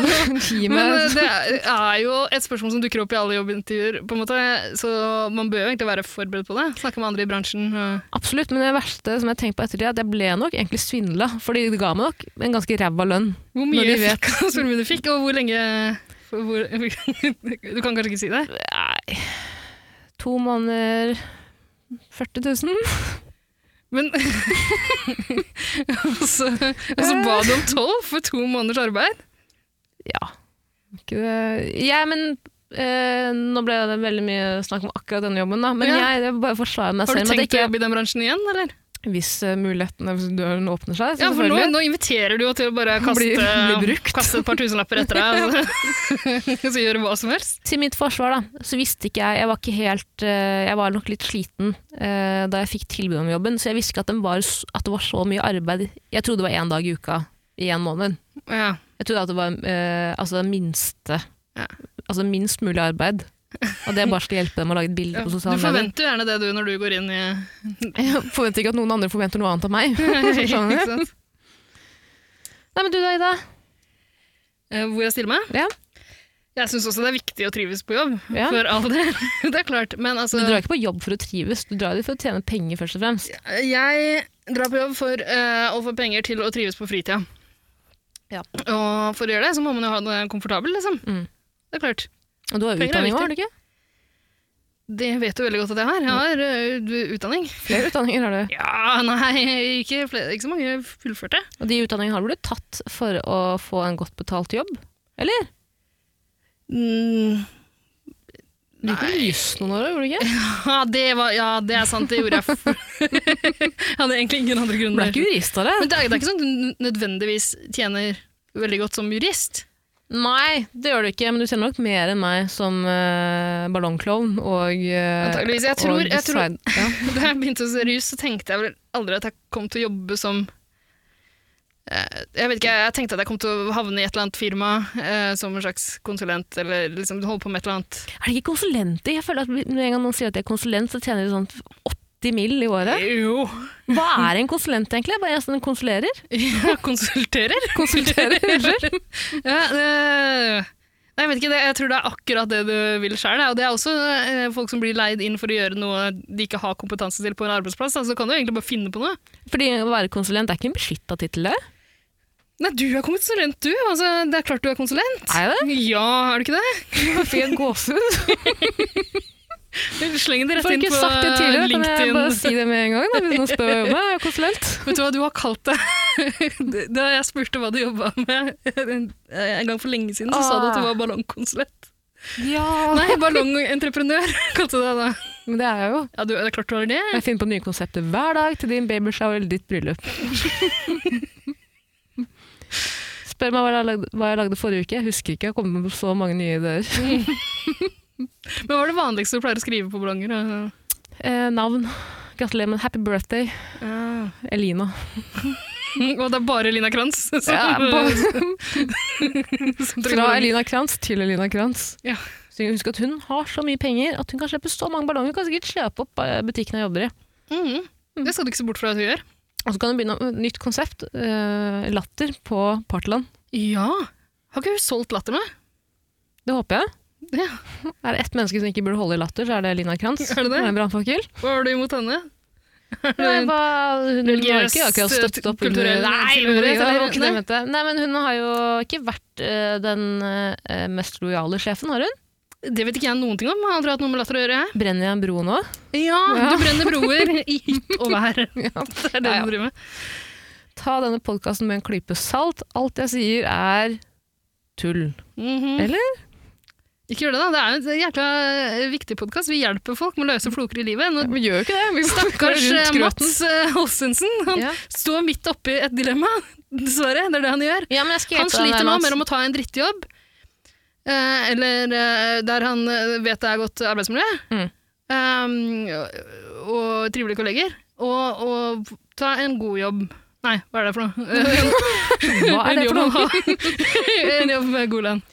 Speaker 1: [LAUGHS]
Speaker 2: sammen. Gi
Speaker 1: Men eh,
Speaker 2: meg-
Speaker 1: det er- er jo et spørsmål som dukker opp i alle jobbintervjuer, på en måte, så man bør jo egentlig være forberedt på det. Snakke med andre i bransjen. Og...
Speaker 2: Absolutt, men det verste som jeg har tenkt på etter det, er at jeg ble nok egentlig svindla. For de ga meg nok en ganske ræva lønn.
Speaker 1: Hvor
Speaker 2: Når
Speaker 1: mye
Speaker 2: de
Speaker 1: du
Speaker 2: vet.
Speaker 1: fikk, [LAUGHS] og hvor mye du fikk, og hvor lenge for hvor, [LAUGHS] Du kan kanskje ikke si det?
Speaker 2: Nei To måneder 40 000?
Speaker 1: Men [LAUGHS] og, så, og så ba du om tolv for to måneders arbeid?
Speaker 2: Ja. Ikke det Ja, men eh, Nå ble det veldig mye snakk om akkurat denne jobben, da. Men
Speaker 1: Ja.
Speaker 2: jeg, jeg vil bare forsvarer meg
Speaker 1: Har
Speaker 2: selv.
Speaker 1: du
Speaker 2: med at
Speaker 1: tenkt å
Speaker 2: jeg
Speaker 1: jobbe i den bransjen igjen, eller?
Speaker 2: ikke, hvis eh, mulighetene, hvis døren åpner seg, så
Speaker 1: Ja, for nå,
Speaker 2: selvfølgelig.
Speaker 1: nå inviterer du jo til å bare kaste,
Speaker 2: Bli- bli brukt.
Speaker 1: kaste et par tusenlapper etter deg, og så gjøre hva som helst.
Speaker 2: Til mitt forsvar, da, så visste ikke jeg Jeg var ikke helt eh, Jeg var nok litt sliten eh, da jeg fikk tilbud om jobben, så jeg visste ikke at, den var, s- at det var så mye arbeid. Jeg trodde det var én dag i uka i én måned.
Speaker 1: Ja.
Speaker 2: Jeg trodde at det var eh, altså det minste
Speaker 1: Ja.
Speaker 2: Altså minst mulig arbeid. Og det bare skulle hjelpe dem å lage et bilde på
Speaker 1: Du
Speaker 2: sosiale medier.
Speaker 1: forventer jo gjerne det du når du går inn i
Speaker 2: [LAUGHS] Jeg forventer ikke at noen andre forventer noe annet av meg.
Speaker 1: Ikke [LAUGHS]
Speaker 2: Skjønner du?
Speaker 1: sant?
Speaker 2: Nei, men du da, Ida?
Speaker 1: Eh, Hvor jeg stiller meg?
Speaker 2: Ja.
Speaker 1: Jeg syns også det er viktig å trives på jobb,
Speaker 2: Ja.
Speaker 1: for all del. [LAUGHS] Det er klart. Men altså
Speaker 2: Du drar ikke på jobb for å trives, du drar dit for å tjene penger først og fremst.
Speaker 1: Jeg drar på jobb for eh, å få penger til å trives på fritida.
Speaker 2: Ja.
Speaker 1: Og for å gjøre det, så må man jo ha det komfortabel, liksom.
Speaker 2: Mm.
Speaker 1: Det er klart.
Speaker 2: Og du har jo
Speaker 1: Penger er
Speaker 2: utdanning
Speaker 1: viktig.
Speaker 2: òg, har du ikke?
Speaker 1: Det vet du veldig godt at jeg har. Jeg har ø, du- utdanning.
Speaker 2: Flere utdanninger har du.
Speaker 1: Ja, nei, ikke, flere, ikke så mange fullførte.
Speaker 2: Og de utdanningene har du blitt tatt for å få en godt betalt jobb? Eller?
Speaker 1: Mm,
Speaker 2: Du gikk jo juss noen år, gjorde du ikke?
Speaker 1: Ja, det var, ja, det er sant, det gjorde jeg. For. [LAUGHS] jeg hadde egentlig ingen andre
Speaker 2: Du ble
Speaker 1: grunner.
Speaker 2: ikke jurist av det?
Speaker 1: Men det er, det er ikke sånn at du nødvendigvis tjener veldig godt som jurist.
Speaker 2: Nei, det gjør du ikke, men du ser nok mer enn meg som uh, ballongklovn og eh,
Speaker 1: Antageligvis. Jeg tror-
Speaker 2: og
Speaker 1: jeg tror-
Speaker 2: side- ja.
Speaker 1: [LAUGHS] Da jeg begynte å se rus, så tenkte jeg vel aldri at jeg kom til å jobbe som eh, Jeg vet ikke, jeg tenkte at jeg kom til å havne i et eller annet firma eh, som en slags konsulent, eller liksom holde på med et eller annet.
Speaker 2: Er det ikke konsulenter? Jeg føler at Når en gang noen sier at de er konsulent, så tjener de sånn 80 mill. i året.
Speaker 1: Jo! [LAUGHS]
Speaker 2: Hva er en konsulent, egentlig? Bare en som konsulerer?
Speaker 1: Jeg konsulterer.
Speaker 2: [LAUGHS] Konsulterer, unnskyld.
Speaker 1: Ja, det- Nei, jeg vet ikke, det- jeg tror det er akkurat det du vil sjøl. Og det er også eh, folk som blir leid inn for å gjøre noe de ikke har kompetanse til på en arbeidsplass. da, Så kan du egentlig bare finne på noe.
Speaker 2: Fordi å være konsulent er ikke en beskytta tittel, det.
Speaker 1: Nei, du er konsulent, du. Altså, det er klart du er konsulent.
Speaker 2: Er det?
Speaker 1: Ja, er du ikke det?
Speaker 2: Fikk jeg gåsehud?
Speaker 1: Sleng det rett
Speaker 2: Får
Speaker 1: inn
Speaker 2: ikke
Speaker 1: på
Speaker 2: sagt det tidligere, kan jeg bare
Speaker 1: LinkedIn.
Speaker 2: si det med en gang? Da, hvis noen spør meg, jeg er
Speaker 1: [LAUGHS]
Speaker 2: konsulent.
Speaker 1: Vet du hva du har kalt det? [LAUGHS] Da jeg spurte hva du jobba med [LAUGHS] en en gang for lenge siden, så sa du at du
Speaker 2: Ah.
Speaker 1: var ballongkonsulent.
Speaker 2: Ja.
Speaker 1: Nei, ballongentreprenør [LAUGHS] kalte du deg da.
Speaker 2: Men det er jeg jo.
Speaker 1: Ja, du, det er klart du har det.
Speaker 2: [LAUGHS] Jeg finner på nye konsepter hver dag til din babyshower eller ditt
Speaker 1: [LAUGHS]
Speaker 2: bryllup. Spør meg hva jeg lagde, hva jeg lagde forrige uke. Jeg husker ikke. Jeg har kommet med så mange nye
Speaker 1: [LAUGHS]
Speaker 2: ideer.
Speaker 1: Men hva er det vanligste du pleier å skrive på ballonger? da?
Speaker 2: Eh, navn. Gratulerer med happy birthday, Elina.
Speaker 1: Ah. [LAUGHS] Og det er bare Lina Kranz [LAUGHS] som,
Speaker 2: Ja, bare-
Speaker 1: som trykker
Speaker 2: Fra
Speaker 1: ballonger.
Speaker 2: Elina Krantz til Elina Krantz.
Speaker 1: Ja.
Speaker 2: Så Husk at hun har så mye penger at hun kan slippe så mange ballonger. Hun kan sikkert kjøpe opp eh, butikken hun jobber i.
Speaker 1: Mhm. Det skal du ikke se bort fra at du gjør.
Speaker 2: Og så kan hun begynne med et nytt konsept. eh, latter på Partyland.
Speaker 1: Ja. Har ikke hun solgt latter med?
Speaker 2: Det håper jeg.
Speaker 1: Ja.
Speaker 2: Er det ett menneske som ikke burde holde i latter, så er det Elina Krantz.
Speaker 1: [LAUGHS] Er det det?
Speaker 2: Hun er en
Speaker 1: [LAUGHS]
Speaker 2: brannfakkel.
Speaker 1: Hva var det imot henne?
Speaker 2: Nei, hva, hun har
Speaker 1: Religiøs, eh,
Speaker 2: ikke akkurat støttet opp under
Speaker 1: kulturell
Speaker 2: Nei,
Speaker 1: tilhørighet,
Speaker 2: det var
Speaker 1: eller?
Speaker 2: ikke det jeg mente. Nei, men hun har jo ikke vært eh, den eh, mest lojale sjefen, har hun?
Speaker 1: Det vet ikke jeg noen ting om. Jeg har aldri hatt noe med latter å gjøre. jeg.
Speaker 2: Brenner jeg en bro nå?
Speaker 1: Ja,
Speaker 2: Ja.
Speaker 1: du brenner broer i hytt og vær.
Speaker 2: [LAUGHS] Ja.
Speaker 1: Det er det
Speaker 2: Ja, ja.
Speaker 1: du driver med.
Speaker 2: Ta denne podkasten med en klype salt. Alt jeg sier er tull.
Speaker 1: Mhm.
Speaker 2: Eller?
Speaker 1: Ikke gjør det, da. Det er jo en jækla eh, viktig podkast. Vi hjelper folk med å løse floker i livet. Nå,
Speaker 2: Vi gjør jo ikke det. Vi
Speaker 1: stakkars eh, Mats eh, Holsensen, han
Speaker 2: Ja.
Speaker 1: står midt oppi et dilemma, [LAUGHS] dessverre. Det er det han gjør.
Speaker 2: Ja, men jeg skal
Speaker 1: Han sliter nå mellom å ta en drittjobb, eh, eller eh, der han eh, vet det er godt arbeidsmiljø,
Speaker 2: Mm.
Speaker 1: eh, og, og trivelige kolleger, og, og ta en god jobb. Nei, hva er det
Speaker 2: [LAUGHS]
Speaker 1: for noe?
Speaker 2: Hva
Speaker 1: [LAUGHS]
Speaker 2: er det for noe?
Speaker 1: en jobb med god lønn.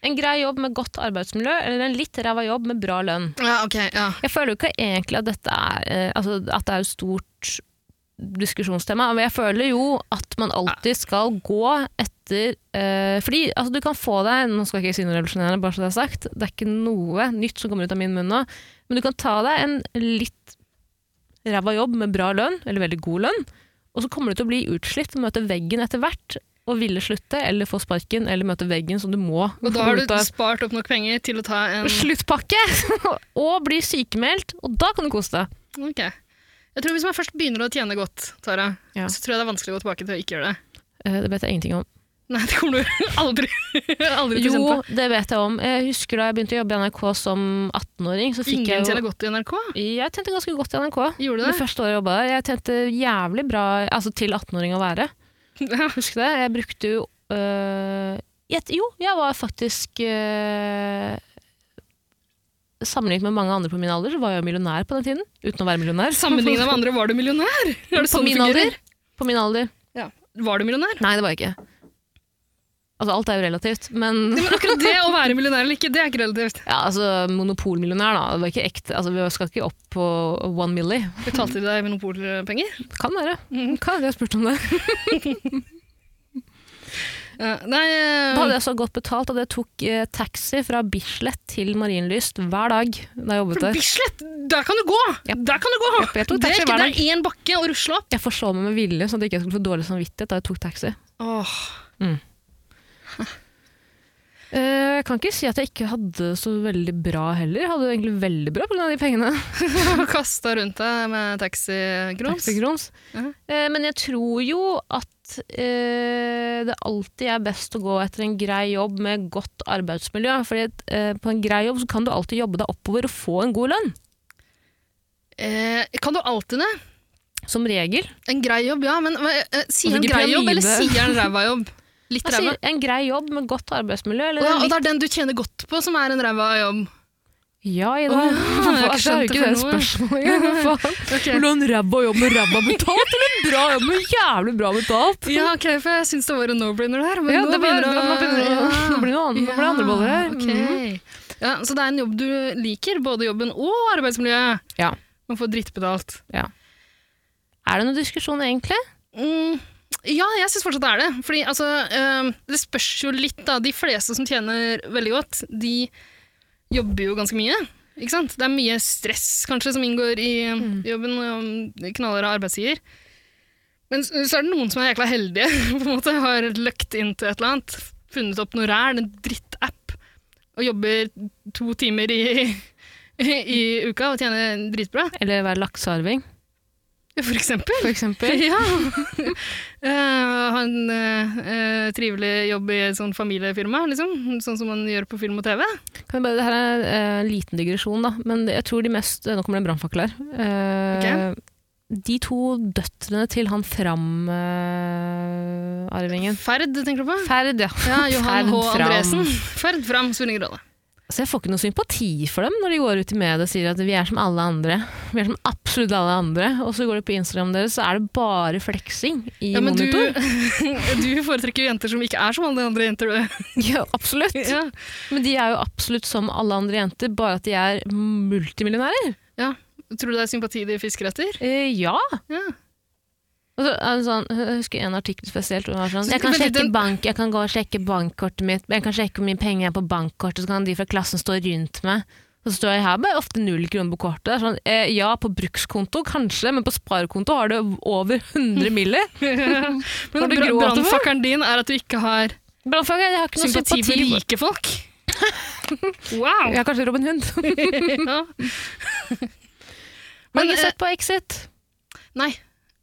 Speaker 2: En grei jobb med godt arbeidsmiljø, eller en litt ræva jobb med bra lønn?
Speaker 1: Ja, ok, ja.
Speaker 2: Jeg føler jo ikke egentlig at dette er eh, altså, At det er et stort diskusjonstema, men jeg føler jo at man alltid skal gå etter eh, Fordi altså, du kan få deg Nå skal jeg ikke si noe revolusjonerende, bare så det er sagt. Det er ikke noe nytt som kommer ut av min munn nå. Men du kan ta deg en litt ræva jobb med bra lønn, eller veldig god lønn, og så kommer du til å bli utslitt og møte veggen etter hvert. Og ville slutte, eller få sparken, eller møte veggen, så du må
Speaker 1: Og da har
Speaker 2: ut
Speaker 1: du
Speaker 2: av-
Speaker 1: spart opp nok penger til å ta
Speaker 2: [LAUGHS]
Speaker 1: en
Speaker 2: sluttpakke! og blir sykemeldt, og da kan du kose deg.
Speaker 1: Ok. Jeg tror Hvis man først begynner å tjene godt, Tara,
Speaker 2: Ja.
Speaker 1: så tror jeg det er vanskelig å gå tilbake til å ikke gjøre det.
Speaker 2: Eh, Det vet jeg ingenting om.
Speaker 1: Nei, det kommer du [LAUGHS] aldri, aldri til å kjenne
Speaker 2: Jo,
Speaker 1: på.
Speaker 2: det vet jeg om. Jeg husker da jeg begynte å jobbe i NRK som 18-åring. så fikk
Speaker 1: Ingen
Speaker 2: Jeg
Speaker 1: tjener
Speaker 2: jo...
Speaker 1: godt i NRK.
Speaker 2: Jeg tjente ganske godt i NRK.
Speaker 1: Gjorde
Speaker 2: Det
Speaker 1: du det?
Speaker 2: første året jeg jobba der. Jeg tjente jævlig bra altså til 18-åring å være.
Speaker 1: Ja. [LAUGHS]
Speaker 2: Husk det. Jeg brukte jo øh, jeg- Jo, jeg var faktisk øh, Sammenlignet med mange andre på min alder, så var jeg jo millionær på den tiden. Uten å være millionær.
Speaker 1: Sammenlignet
Speaker 2: [LAUGHS]
Speaker 1: med andre, var du millionær? Er det
Speaker 2: på
Speaker 1: sånn det
Speaker 2: min
Speaker 1: fungerer?
Speaker 2: alder. På min alder.
Speaker 1: Ja. Var du millionær?
Speaker 2: Nei, det var jeg ikke. Altså, alt er jo relativt, men
Speaker 1: Nei, Men akkurat det å være millionær eller ikke, det er ikke relativt.
Speaker 2: Ja, altså monopolmillionær da, det var ikke ekte. Altså, vi skal ikke opp på one milli.
Speaker 1: Betalte de deg monopolpenger?
Speaker 2: Kan være. Kan jeg har spurt om det.
Speaker 1: Ja, nei eh,
Speaker 2: Da hadde jeg så godt betalt at jeg tok eh, taxi fra Bislett til Marienlyst hver dag da jeg jobbet
Speaker 1: for
Speaker 2: der.
Speaker 1: Bislett! Der kan du gå!
Speaker 2: Ja.
Speaker 1: Der kan du gå!
Speaker 2: Jeg tok
Speaker 1: det er
Speaker 2: taxi
Speaker 1: ikke
Speaker 2: hver
Speaker 1: det
Speaker 2: dag.
Speaker 1: er én bakke å rusle opp.
Speaker 2: Jeg forså meg med vilje, sånn at jeg ikke skulle få dårlig samvittighet da jeg tok taxi.
Speaker 1: Åh, [LAUGHS]
Speaker 2: Eh, Jeg kan ikke si at jeg ikke hadde så veldig bra heller. Jeg hadde det egentlig veldig bra pga. de pengene.
Speaker 1: Og kasta rundt deg med taxigrums.
Speaker 2: Takk for grums.
Speaker 1: Mhm.
Speaker 2: Eh, Men jeg tror jo at eh, det alltid er best å gå etter en grei jobb med godt arbeidsmiljø. Fordi at, eh, på en grei jobb så kan du alltid jobbe deg oppover og få en god lønn.
Speaker 1: Eh, kan du alltid det?
Speaker 2: Som regel.
Speaker 1: En grei jobb, ja, men hva- eh, sier
Speaker 2: Altså,
Speaker 1: han
Speaker 2: ikke
Speaker 1: grei jobb,
Speaker 2: pyramide.
Speaker 1: eller sier han ræva
Speaker 2: [LAUGHS]
Speaker 1: jobb? Litt
Speaker 2: Jeg
Speaker 1: ræva.
Speaker 2: sier Altså, en grei jobb med godt arbeidsmiljø.
Speaker 1: Å
Speaker 2: Eller
Speaker 1: ja, og
Speaker 2: litt...
Speaker 1: det er den du tjener godt på, som er en ræva jobb.
Speaker 2: ja, [LAUGHS] Ida.
Speaker 1: Å ja,
Speaker 2: Hva
Speaker 1: jeg
Speaker 2: er det
Speaker 1: skjønte
Speaker 2: er jo ikke det
Speaker 1: for noe. [LAUGHS]
Speaker 2: spørsmålet engang. Hva faen?
Speaker 1: Ok.
Speaker 2: Vil du ha en ræva jobb med ræva betalt, eller en bra jobb med jævlig bra [LAUGHS] betalt?
Speaker 1: Ja, ok, for jeg syns det var en no-brainer der. Men
Speaker 2: Ja,
Speaker 1: nå
Speaker 2: det var-
Speaker 1: begynner å-
Speaker 2: nå begynner det å-
Speaker 1: Ja.
Speaker 2: nå blir det noe annet- nå blir det andre boller her. Mm. Mhm.
Speaker 1: Ja, ok. Ja, så det er en jobb du liker, både jobben og arbeidsmiljøet.
Speaker 2: Ja.
Speaker 1: Man får drittbetalt.
Speaker 2: Er det noen diskusjon egentlig?
Speaker 1: Mm, ja, jeg syns fortsatt det er det. Fordi altså, eh, det spørs jo litt, da. De fleste som tjener veldig godt, de jobber jo ganske mye. Ikke sant? Det er mye stress kanskje som inngår i jobben, og knallharde arbeidsgiver. Men så så er det noen som er jækla heldige, [LAUGHS] på en måte, har løkt inn til et eller annet. Funnet opp noe ræl, en drittapp, og jobber to timer i, [LAUGHS] i uka og tjener dritbra.
Speaker 2: Eller være laksearving,
Speaker 1: For eksempel.
Speaker 2: for eksempel?
Speaker 1: Ja. [LAUGHS] Eh, ha en eh, eh, trivelig jobb i et sånt familiefirma, liksom. Sånn som man gjør på film og TV.
Speaker 2: [LAUGHS] Kan jeg bare, det her er eh, en liten digresjon, da. Men jeg tror de mest Nå kommer det en brannfakkel her. Eh, De to døtrene til han Fram-arvingen.
Speaker 1: Ferd, tenker du på?
Speaker 2: Ferd, ja.
Speaker 1: Ja, Johan H.
Speaker 2: Ferd Fram.
Speaker 1: Andresen. Ferd fram, Svinning Råde.
Speaker 2: Så Altså, jeg får ikke noe sympati for dem når de går ut i media og sier at vi er som alle andre. Vi er som absolutt alle andre. Og så går de på Instagram deres, så er det bare fleksing i
Speaker 1: Ja, men du,
Speaker 2: monitor. [LAUGHS]
Speaker 1: [LAUGHS] du foretrekker jo jenter som ikke er som alle andre jenter. du.
Speaker 2: [LAUGHS] Ja, absolutt.
Speaker 1: Ja.
Speaker 2: Men de er jo absolutt som alle andre jenter, bare at de er multimillionærer.
Speaker 1: Tror du det er sympati de fisker etter?
Speaker 2: Eh, ja.
Speaker 1: Ja.
Speaker 2: [LAUGHS] Og så er det sånn, jeg husker en artikkel spesielt. hvor det var Sånn,
Speaker 1: Så
Speaker 2: jeg, kan
Speaker 1: veldig
Speaker 2: sjekke
Speaker 1: den-
Speaker 2: bank, jeg kan gå og sjekke bankkortet mitt, jeg kan sjekke hvor mye penger jeg har på bankkortet, så kan de fra klassen stå rundt meg. Så står jeg her med ofte null kroner på kortet. Det er Sånn, eh, ja, på brukskonto kanskje, men på sparekonto har du over 100
Speaker 1: [LAUGHS]
Speaker 2: milli.
Speaker 1: Men
Speaker 2: Var det
Speaker 1: bra-
Speaker 2: gråt over?
Speaker 1: brannfakkeren din er at du ikke har
Speaker 2: Brannfag, jeg har ikke noe
Speaker 1: sympati
Speaker 2: sympati
Speaker 1: for
Speaker 2: for
Speaker 1: rike folk. Wow!
Speaker 2: [LAUGHS] Jeg har kanskje Robin Hund.
Speaker 1: [LAUGHS] Ja.
Speaker 2: Men
Speaker 1: Men
Speaker 2: ikke
Speaker 1: eh,
Speaker 2: sett på Exit.
Speaker 1: nei,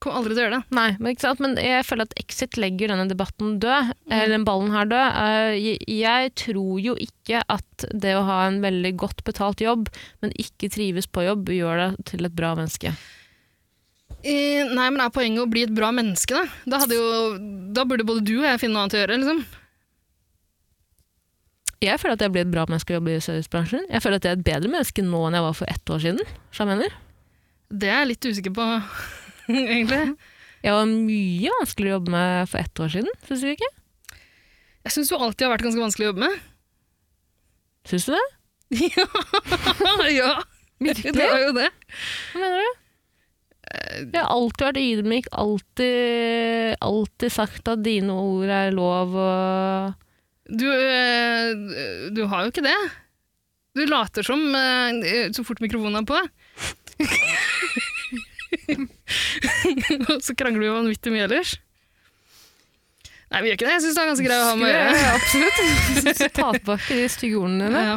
Speaker 1: kommer aldri til å gjøre det.
Speaker 2: Nei, men, ikke sant? men jeg føler at Exit legger denne debatten død, eller den ballen her død. Eh, Jeg, jeg tror jo ikke at det å ha en veldig godt betalt jobb, men ikke trives på jobb, gjør deg til et bra menneske.
Speaker 1: Eh, nei, men er poenget å bli et bra menneske, da? Da, hadde jo, da burde både du og jeg finne noe annet å gjøre, liksom.
Speaker 2: Jeg føler at jeg blir et bra menneske å jobbe i servicebransjen. Jeg føler at jeg er et bedre menneske nå enn jeg var for ett år siden. Så jeg mener.
Speaker 1: Det er jeg litt usikker på, [LAUGHS] egentlig.
Speaker 2: Jeg var mye vanskeligere å jobbe med for ett år siden, syns du ikke?
Speaker 1: Jeg syns du alltid har vært ganske vanskelig å jobbe med.
Speaker 2: Syns du det?
Speaker 1: [LAUGHS] [LAUGHS] ja, det
Speaker 2: Virkelig?
Speaker 1: var jo det.
Speaker 2: Hva mener du? Jeg har alltid vært ydmyk, alltid, alltid sagt at dine ord er lov og
Speaker 1: Du, eh, du har jo ikke det. Du later som eh, så fort mikrofonen er på. [LAUGHS] Og så krangler vi vanvittig mye ellers. Nei, vi gjør ikke det. Jeg syns det er ganske greit å ha med å gjøre.
Speaker 2: Ja, absolutt. Så Ta tilbake de stygge ordene dine.
Speaker 1: Ja.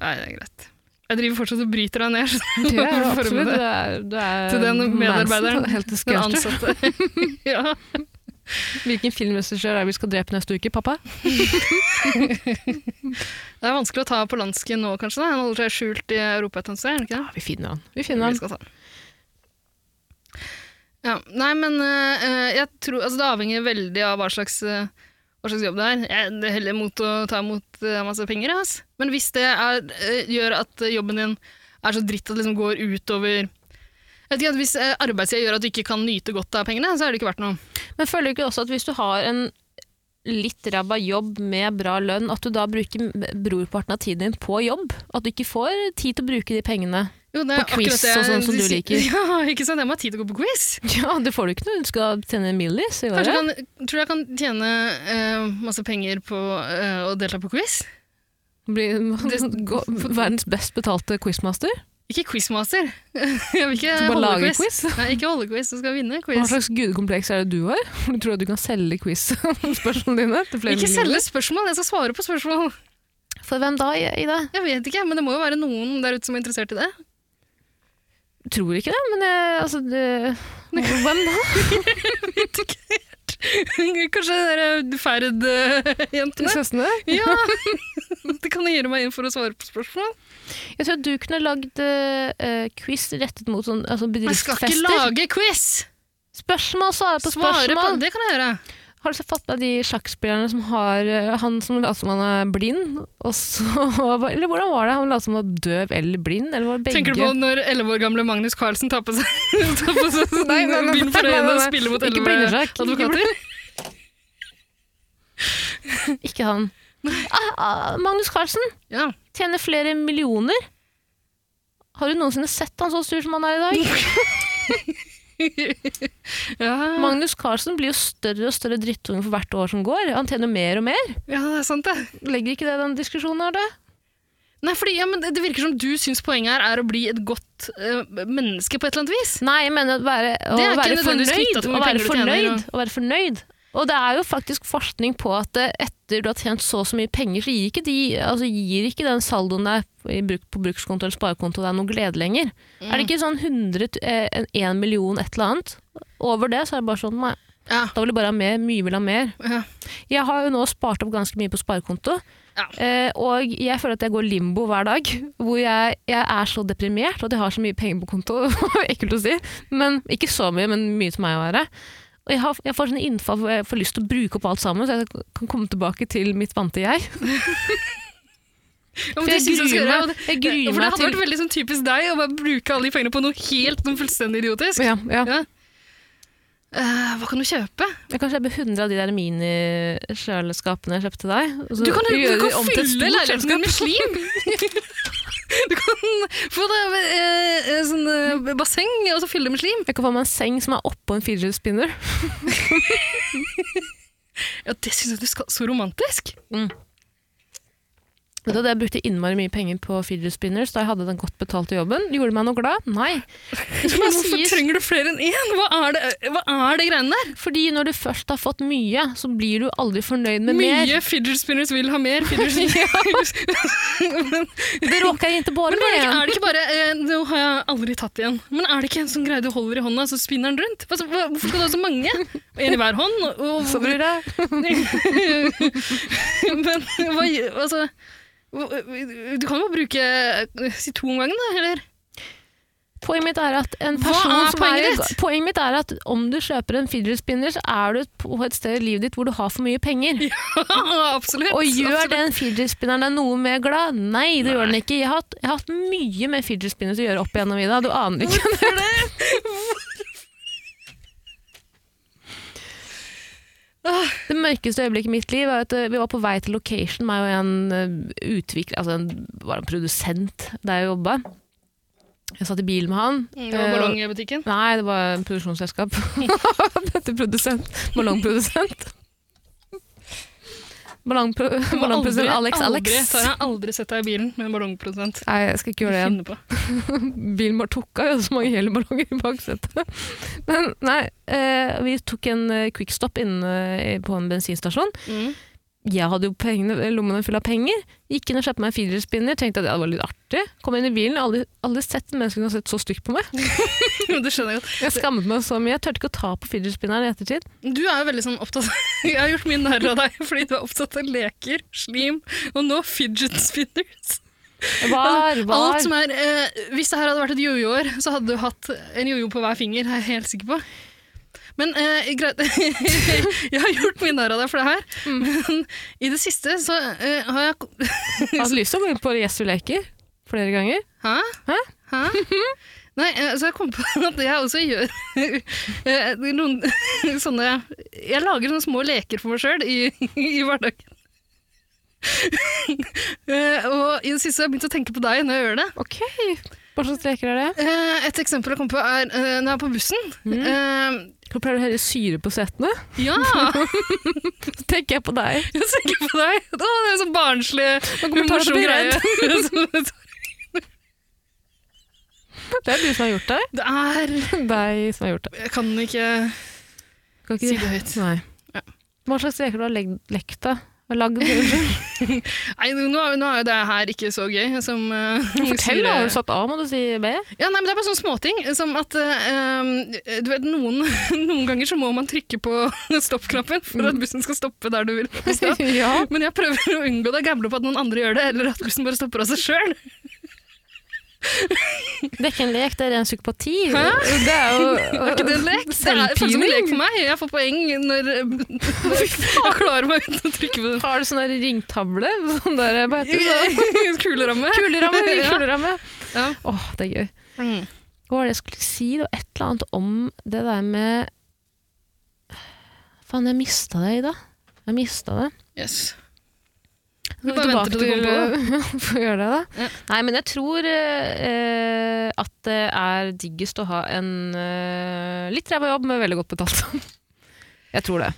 Speaker 1: Nei, det er greit. Jeg driver fortsatt og bryter deg ned.
Speaker 2: Det er jo
Speaker 1: [LAUGHS] Forme
Speaker 2: absolutt.
Speaker 1: det.
Speaker 2: Du er, du er
Speaker 1: Til den
Speaker 2: Manson,
Speaker 1: medarbeideren,
Speaker 2: Helt til
Speaker 1: Den
Speaker 2: Skauter.
Speaker 1: ansatte. [LAUGHS] ja.
Speaker 2: Hvilken filmregissør er det vi skal drepe neste uke, pappa?
Speaker 1: Det er vanskelig å ta på landsken nå, kanskje. Da. Han holder seg skjult i Europa et eller annet sted, er det ikke det?
Speaker 2: Ja, vi finner han. Vi finner han.
Speaker 1: Vi skal ta den. Ja. Nei, men eh, jeg tror altså, Det avhenger veldig av hva slags, eh, hva slags jobb det er. Jeg det heller mot å ta imot eh, masse penger, jeg, ass. Men hvis det er, eh, gjør at eh, jobben din er så dritt at det liksom går utover jeg vet ikke, at Hvis eh, arbeidstida gjør at du ikke kan nyte godt av pengene, så er det ikke verdt noe.
Speaker 2: Men føler du ikke også at hvis du har en litt ræva jobb med bra lønn, at du da bruker brorparten av tiden din på jobb? At du ikke får tid til å bruke de pengene? [LAUGHS]
Speaker 1: Jo, det er
Speaker 2: På quiz
Speaker 1: akkurat det
Speaker 2: og sånn
Speaker 1: jeg-
Speaker 2: som du liker.
Speaker 1: [LAUGHS] Ja, ikke sant? Jeg må ha tid til å gå på quiz.
Speaker 2: Ja, det får du ikke når du skal tjene millies i
Speaker 1: Kanskje
Speaker 2: året.
Speaker 1: jeg kan, tror jeg kan tjene eh, masse penger på eh, å delta på quiz. [LAUGHS]
Speaker 2: [LAUGHS] Bli, gå, verdens best betalte quizmaster.
Speaker 1: Ikke quizmaster. [LAUGHS] Jeg vil ikke
Speaker 2: Så bare
Speaker 1: holde
Speaker 2: lage
Speaker 1: quiz.
Speaker 2: quiz?
Speaker 1: [LAUGHS] Nei, ikke holde quiz, du skal vinne
Speaker 2: Hva
Speaker 1: quiz.
Speaker 2: slags gudekompleks er det du har? [LAUGHS] Hvor Du tror at du kan selge [LAUGHS] quiz-spørsmålene dine? til flere
Speaker 1: Ikke
Speaker 2: millioner?
Speaker 1: selge spørsmål, jeg skal svare på spørsmål.
Speaker 2: For hvem da, Ida?
Speaker 1: Jeg vet ikke, men det må jo være noen der ute som er interessert i det.
Speaker 2: Tror ikke det, men eh, altså det, Hvem da?
Speaker 1: [LAUGHS] Vet ikke helt. Kanskje de Ferd-jentene?
Speaker 2: Søstrene?
Speaker 1: Ja! [LAUGHS] Det kan gjøre meg inn for å svare på spørsmål.
Speaker 2: Jeg tror at du kunne lagd eh, quiz rettet mot sånn, altså
Speaker 1: Jeg skal
Speaker 2: bedriftsfester.
Speaker 1: ikke lage quiz!
Speaker 2: Spørsmål, svare på
Speaker 1: Svare på,
Speaker 2: spørsmål.
Speaker 1: det kan jeg gjøre.
Speaker 2: Har du så fått med de sjakkspillerne som har eh, Han som later som han er blind, og så [LAUGHS] Eller hvordan var det? Han later som han var døv eller blind, eller var det begge?
Speaker 1: Tenker du på når 11 år gamle Magnus Carlsen tar på seg, [LAUGHS] tar på seg sånn
Speaker 2: [LAUGHS] Nei, nei, nei,
Speaker 1: bind for
Speaker 2: nei, nei,
Speaker 1: øynene og
Speaker 2: nei.
Speaker 1: spiller mot
Speaker 2: Ikke
Speaker 1: 11
Speaker 2: blindesjakk, ikke
Speaker 1: advokater?
Speaker 2: Ikke han. Ah, ah, Magnus Carlsen
Speaker 1: Ja.
Speaker 2: tjener flere millioner. Har du noensinne sett han så sur som han er i dag? [LAUGHS]
Speaker 1: Ja.
Speaker 2: Magnus Carlsen blir jo større og større drittunge for hvert år som går. Han tjener mer og mer.
Speaker 1: ja, det er sant, det.
Speaker 2: Legger ikke det i den diskusjonen her, du?
Speaker 1: Nei, fordi, ja, men det det virker som du syns poenget her er å bli et godt eh, menneske på et eller annet vis.
Speaker 2: Nei, jeg mener å være, å
Speaker 1: Det er ikke
Speaker 2: være
Speaker 1: nødvendigvis knyttet
Speaker 2: fornøyd. Å
Speaker 1: til hvor mye
Speaker 2: være
Speaker 1: penger du tjener,
Speaker 2: fornøyd, å være fornøyd. Og det er jo faktisk forskning på at eh, etter du har tjent så og så mye penger, så gir ikke, de, altså gir ikke den saldoen der i bruk, på brukskonto eller sparekonto deg noe glede lenger. Er det ikke sånn 100, eh, en en million et eller annet? Over det så er det bare sånn, nei,
Speaker 1: Ja.
Speaker 2: da vil jeg bare ha mer, mye vil ha mer.
Speaker 1: ja.
Speaker 2: Jeg har jo nå spart opp ganske mye på sparekonto,
Speaker 1: Ja.
Speaker 2: eh, og jeg føler at jeg går limbo hver dag, hvor jeg, jeg er så deprimert, og at jeg har så mye penger på konto, [LAUGHS] ekkelt å si, men ikke så mye, men mye til meg å være. Og jeg, har, jeg får sånn innfall hvor jeg får lyst til å bruke opp alt sammen, så jeg kan komme tilbake til mitt vante jeg.
Speaker 1: Ja, men
Speaker 2: For
Speaker 1: det
Speaker 2: jeg
Speaker 1: synes jeg skal
Speaker 2: gruer
Speaker 1: gjøre, og
Speaker 2: meg,
Speaker 1: det-
Speaker 2: jeg
Speaker 1: Ja,
Speaker 2: gruer
Speaker 1: for det
Speaker 2: meg
Speaker 1: hadde
Speaker 2: til
Speaker 1: vært veldig sånn typisk deg å bare bruke alle de pengene på noe helt sånn fullstendig idiotisk.
Speaker 2: ja, ja.
Speaker 1: Ja. Eh, hva kan du kjøpe?
Speaker 2: Jeg kan kjøpe 100 av de der mini-kjøleskapene jeg kjøpte deg. og så
Speaker 1: Du kan, du
Speaker 2: gjøre de
Speaker 1: kan
Speaker 2: om til et
Speaker 1: fylle
Speaker 2: stort
Speaker 1: leiligheten din med slim! [LAUGHS] Du kan få deg eh, eh, sånn eh, basseng og så fylle det med slim.
Speaker 2: Jeg kan få meg en seng som er oppå en fidget spinner.
Speaker 1: Ja, Det syns jeg du skal Så romantisk!
Speaker 2: Vet du, hva, jeg brukte innmari mye penger på fidget spinners da jeg hadde den godt betalte jobben. Gjorde det meg noe glad? Nei. Det [LAUGHS] skal bare
Speaker 1: Hvorfor
Speaker 2: sies,
Speaker 1: trenger du flere enn én? Hva er det, eh, hva er det greiene der?
Speaker 2: fordi når du først har fått mye, så blir du aldri fornøyd med mer.
Speaker 1: Mye fidget spinners vil ha mer
Speaker 2: [LAUGHS]
Speaker 1: fidget spinners. [LAUGHS]
Speaker 2: Det råker jeg ikke båre
Speaker 1: Men er det, ikke,
Speaker 2: med.
Speaker 1: er det ikke bare eh, Nå har jeg aldri tatt igjen. Men er det ikke en sånn greie du holder i hånda, så spinner den rundt? Hva- så- hva- Hvorfor skal du ha så mange? En i hver hånd? Og,
Speaker 2: Så
Speaker 1: og,
Speaker 2: blir det
Speaker 1: men hva gjør- Altså hva- Du kan jo bruke eh, Si to om gangen, da, eller? [LAUGHS]
Speaker 2: Poenget mitt er at en
Speaker 1: Hva
Speaker 2: person
Speaker 1: er
Speaker 2: som
Speaker 1: poenget
Speaker 2: er,
Speaker 1: ditt?
Speaker 2: Poenget mitt er at om du kjøper en fidget spinner, så er du på et sted i livet ditt hvor du har for mye penger.
Speaker 1: absolutt.
Speaker 2: Og gjør
Speaker 1: absolutt.
Speaker 2: den fidget spinneren deg noe mer glad? Nei, det gjør den ikke. Jeg har, hatt- jeg har hatt mye med fidget spinners å gjøre opp igjennom, Ida. Du aner ikke. [LAUGHS]
Speaker 1: Åh,
Speaker 2: Det mørkeste øyeblikket i mitt liv var at eh, vi var på vei til location, meg og en eh, utvikler, altså en, var det en produsent der jeg jobba. Jeg satt i bil med han.
Speaker 1: Det var
Speaker 2: Eh,
Speaker 1: ballong i butikken.
Speaker 2: Nei, det var en produksjonsselskap. [LAUGHS] Dette er produsent. Ballongprodusent. Ballongpro
Speaker 1: Du må
Speaker 2: ballongprodusent
Speaker 1: aldri-
Speaker 2: Alex Alex.
Speaker 1: Aldri, Sara, aldri sett deg i bilen med en ballongprodusent.
Speaker 2: Nei, jeg skal ikke gjøre det igjen.
Speaker 1: Finne på.
Speaker 2: Bilen bare tok av, vi hadde så mange hele ballonger i baksetet. Men nei, eh, vi tok en eh, quickstop inne eh, på en bensinstasjon.
Speaker 1: Mm. [LAUGHS]
Speaker 2: jeg hadde jo pengene, lommene fulle av penger. Gikk inn og kjøpte meg en fidget spinner. Tenkte at det var litt artig. Kom inn i bilen. Aldri, aldri sett et menneske som har sett så stygt på meg.
Speaker 1: Det skjønner jeg godt.
Speaker 2: Jeg skammet meg så mye. Jeg turte ikke å ta på fidget spinneren i ettertid.
Speaker 1: Du er jo veldig sånn opptatt [LAUGHS] Jeg har gjort mye narr av deg [LAUGHS] fordi du er opptatt av leker, slim og nå fidget spinners.
Speaker 2: Var,
Speaker 1: Alt
Speaker 2: var.
Speaker 1: som er eh, Hvis det her hadde vært et jojo-år, så hadde du hatt en jojo på hver finger, er jeg helt sikker på. Men eh, greit [LAUGHS] Jeg har gjort mye narr av deg for det her, men i det siste så eh, har jeg ko-
Speaker 2: Jeg hadde lyst til å gå inn på Yes vi leker flere ganger.
Speaker 1: Hæ?
Speaker 2: Hæ?
Speaker 1: Hæ? Nei, eh, så jeg kom på [LAUGHS] at jeg også gjør [LAUGHS] eh, noen [LAUGHS] sånne Jeg lager sånne små leker for meg sjøl i, [LAUGHS] i hverdagen. [LAUGHS] Eh, og i det siste har jeg begynt å tenke på deg når jeg gjør det.
Speaker 2: Ok. Hva slags leker er det?
Speaker 1: Eh, et eksempel jeg kom på, er eh, når jeg er på bussen.
Speaker 2: Mm.
Speaker 1: Eh,
Speaker 2: Hvor pleier du å helle syre på setene?
Speaker 1: ja!
Speaker 2: Så tenker jeg på deg.
Speaker 1: [LAUGHS] Jeg tenker på deg. Å, det er en sånn barnslig, [LAUGHS]
Speaker 2: kommer Tara til å
Speaker 1: morsom
Speaker 2: bli
Speaker 1: greie.
Speaker 2: Det er du som har gjort det.
Speaker 1: Det er
Speaker 2: [LAUGHS] Deg som har gjort det.
Speaker 1: Jeg kan ikke
Speaker 2: Kan
Speaker 1: si det høyt.
Speaker 2: Nei.
Speaker 1: Ja.
Speaker 2: Hva slags leker du har legg- lekt, da? Og Lagd, [LAUGHS] unnskyld.
Speaker 1: Nei, nå, er- nå er jo det her ikke så gøy som eh,
Speaker 2: Fortell,
Speaker 1: sier-
Speaker 2: da. altså. Har du satt A, må du si B? [LAUGHS]
Speaker 1: Ja, nei, men Det er bare sånne småting. Som at eh, du vet, noen, [LAUGHS] noen ganger så må man trykke på [LAUGHS] stoppknappen for
Speaker 2: Mm.
Speaker 1: at bussen skal stoppe der du vil. [LAUGHS] at den skal.
Speaker 2: ja.
Speaker 1: Men jeg prøver å unngå det. Jeg Gambler på at noen andre gjør det, eller at bussen bare stopper av seg sjøl.
Speaker 2: Dekke en lek, det er ren psykopati.
Speaker 1: Hæ?
Speaker 2: Det er jo
Speaker 1: Er ikke det en lek? Det er faktisk en lek for meg. Jeg får poeng
Speaker 2: [LAUGHS]
Speaker 1: når, når jeg klarer meg uten å trykke på den.
Speaker 2: Har du sånn der ringtavle? Sånn der, hva heter det?
Speaker 1: [LAUGHS]
Speaker 2: da?
Speaker 1: Kuleramme.
Speaker 2: Kuleramme!
Speaker 1: Ja.
Speaker 2: kuleramme.
Speaker 1: Ja.
Speaker 2: Åh, det er gøy.
Speaker 1: Mm.
Speaker 2: Hva var det jeg skulle si? Det var et eller annet om det der med Faen, jeg mista det, Ida. Jeg mista det.
Speaker 1: Yes.
Speaker 2: Skal vi
Speaker 1: bare
Speaker 2: tilbake
Speaker 1: venter til du kommer
Speaker 2: [LAUGHS] til- Får gjøre det, da.
Speaker 1: Ja.
Speaker 2: Nei, men jeg tror eh, at det er diggest å ha en eh, litt ræva jobb, men veldig godt betalt. [LAUGHS] jeg tror det.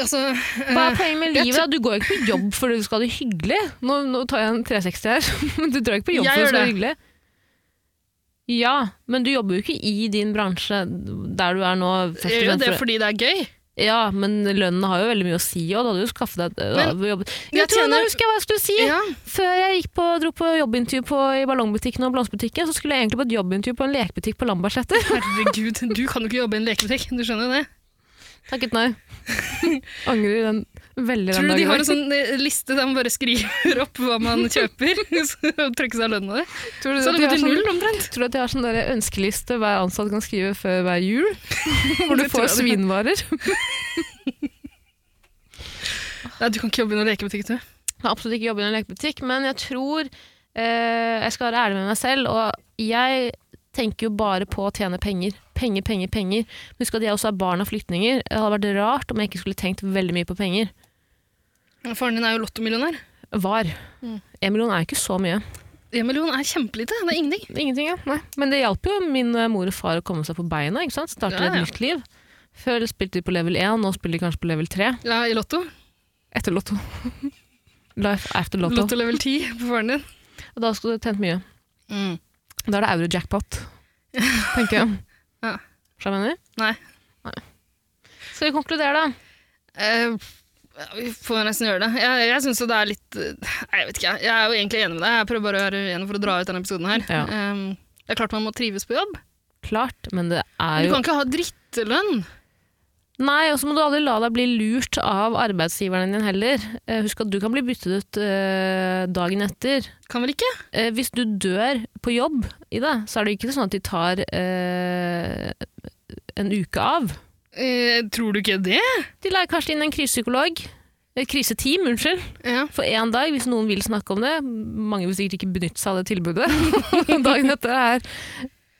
Speaker 1: Altså
Speaker 2: Hva er
Speaker 1: eh,
Speaker 2: poenget med
Speaker 1: jeg
Speaker 2: livet? da? Du går jo ikke på jobb fordi du skal ha det hyggelig. Nå, nå tar jeg en 360 her, [LAUGHS] men du drar ikke på jobb
Speaker 1: Jeg
Speaker 2: fordi
Speaker 1: gjør
Speaker 2: du skal ha
Speaker 1: det.
Speaker 2: det hyggelig. Ja, men du jobber jo ikke i din bransje der du er nå. først og
Speaker 1: jeg gjør jo
Speaker 2: fremst
Speaker 1: det
Speaker 2: for-
Speaker 1: fordi det er gøy.
Speaker 2: Ja, men lønnen har jo veldig mye å si òg. Da hadde du skaffet deg da
Speaker 1: Men
Speaker 2: hadde du jobbet.
Speaker 1: jeg
Speaker 2: Jeg tror, nå
Speaker 1: tjener-
Speaker 2: husker jeg hva jeg skulle si!
Speaker 1: Ja.
Speaker 2: Før jeg gikk på, dro på jobbintervju på, i ballongbutikken og blomsterbutikken, så skulle jeg egentlig på et jobbintervju på en lekebutikk på Lambertseter.
Speaker 1: Herregud, du kan jo ikke jobbe i en lekebutikk. Du skjønner jo det?
Speaker 2: Takket nei. [LAUGHS] Angrer den veldig
Speaker 1: Tror
Speaker 2: den
Speaker 1: du de
Speaker 2: dagen.
Speaker 1: har en sånn eh, liste der man bare skriver opp hva man kjøper, [LAUGHS] så trekkes av lønna di?
Speaker 2: tror du
Speaker 1: Så
Speaker 2: at
Speaker 1: det
Speaker 2: de
Speaker 1: går
Speaker 2: har
Speaker 1: til
Speaker 2: sånn-
Speaker 1: null, omtrent.
Speaker 2: Tror du at jeg har sånn der ønskeliste hver ansatt kan skrive før hver [LAUGHS] jul? Hvor du
Speaker 1: Det
Speaker 2: får
Speaker 1: tror jeg du-
Speaker 2: svinvarer?
Speaker 1: Nei, du kan ikke jobbe i noen lekebutikk, du.
Speaker 2: [LAUGHS] Jeg har absolutt ikke jobbet i en lekebutikk, men jeg tror eh, Jeg skal være ærlig med meg selv, og jeg tenker jo bare på å tjene penger. Penger, penger, penger. Husk at jeg også er barn av flyktninger. Det hadde vært rart om jeg ikke skulle tenkt veldig mye på penger.
Speaker 1: Faren din er jo lottomillionær.
Speaker 2: Var.
Speaker 1: Mm.
Speaker 2: En million er jo ikke så mye.
Speaker 1: En million er kjempelite. Det er ingenting.
Speaker 2: Ingenting, ja. Nei. Men det hjalp jo min eh, mor og far å komme seg på beina. ikke sant? Starte
Speaker 1: Ja, ja.
Speaker 2: et nytt liv. Før spilte de på level 1, nå spiller de kanskje på level 3.
Speaker 1: Ja, I Lotto.
Speaker 2: Etter
Speaker 1: [LAUGHS]
Speaker 2: Lotto. Life after Lotto.
Speaker 1: Lotto level 10 på faren din.
Speaker 2: Og da skulle du tjent mye. Da er det
Speaker 1: [LAUGHS]
Speaker 2: euro-jackpot, tenker jeg.
Speaker 1: Ja.
Speaker 2: Skjønner du hva jeg mener?
Speaker 1: Nei.
Speaker 2: Skal vi konkludere, da?
Speaker 1: Eh, vi får nesten gjøre det. Jeg, jeg syns jo det er litt eh, Nei, jeg vet ikke. jeg. Jeg er jo egentlig enig med deg. Jeg prøver bare å være uenig for å dra ut denne episoden her.
Speaker 2: Ja.
Speaker 1: Eh, det er klart man må trives på jobb.
Speaker 2: Klart, men det er
Speaker 1: Du
Speaker 2: jo
Speaker 1: kan ikke ha drittlønn.
Speaker 2: Nei, og så må du aldri la deg bli lurt av arbeidsgiveren din heller. Eh, Husk at du kan bli byttet ut eh, dagen etter.
Speaker 1: Kan vel ikke?
Speaker 2: Eh, hvis du dør på jobb i det, så er det ikke sånn at de tar eh, en uke av.
Speaker 1: Eh, tror du ikke det?
Speaker 2: De leier kanskje inn en krisepsykolog. Et kriseteam, unnskyld.
Speaker 1: Ja.
Speaker 2: for én dag, hvis noen vil snakke om det. Mange vil sikkert ikke benytte seg av det tilbudet. [LAUGHS] Dagen etter er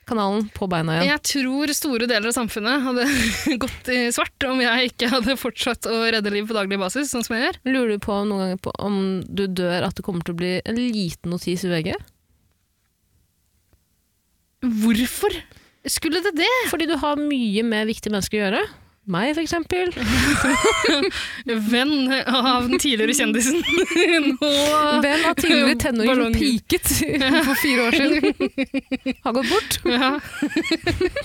Speaker 2: kanalen på beina igjen.
Speaker 1: Jeg tror store deler av samfunnet hadde [LAUGHS] gått i svart om jeg ikke hadde fortsatt å redde liv på daglig basis, sånn som jeg gjør.
Speaker 2: Lurer du på om noen ganger på om du dør at det kommer til å bli en liten notis i VG?
Speaker 1: Hvorfor skulle det det?
Speaker 2: Fordi du har mye med viktige mennesker å gjøre. Meg, for eksempel.
Speaker 1: Venn av den tidligere kjendisen. Nå
Speaker 2: Hvem av tidligere tenåringer som
Speaker 1: Ballong.
Speaker 2: piket [LAUGHS] [LAUGHS] for fire år siden? Har gått bort.
Speaker 1: ja. [LAUGHS]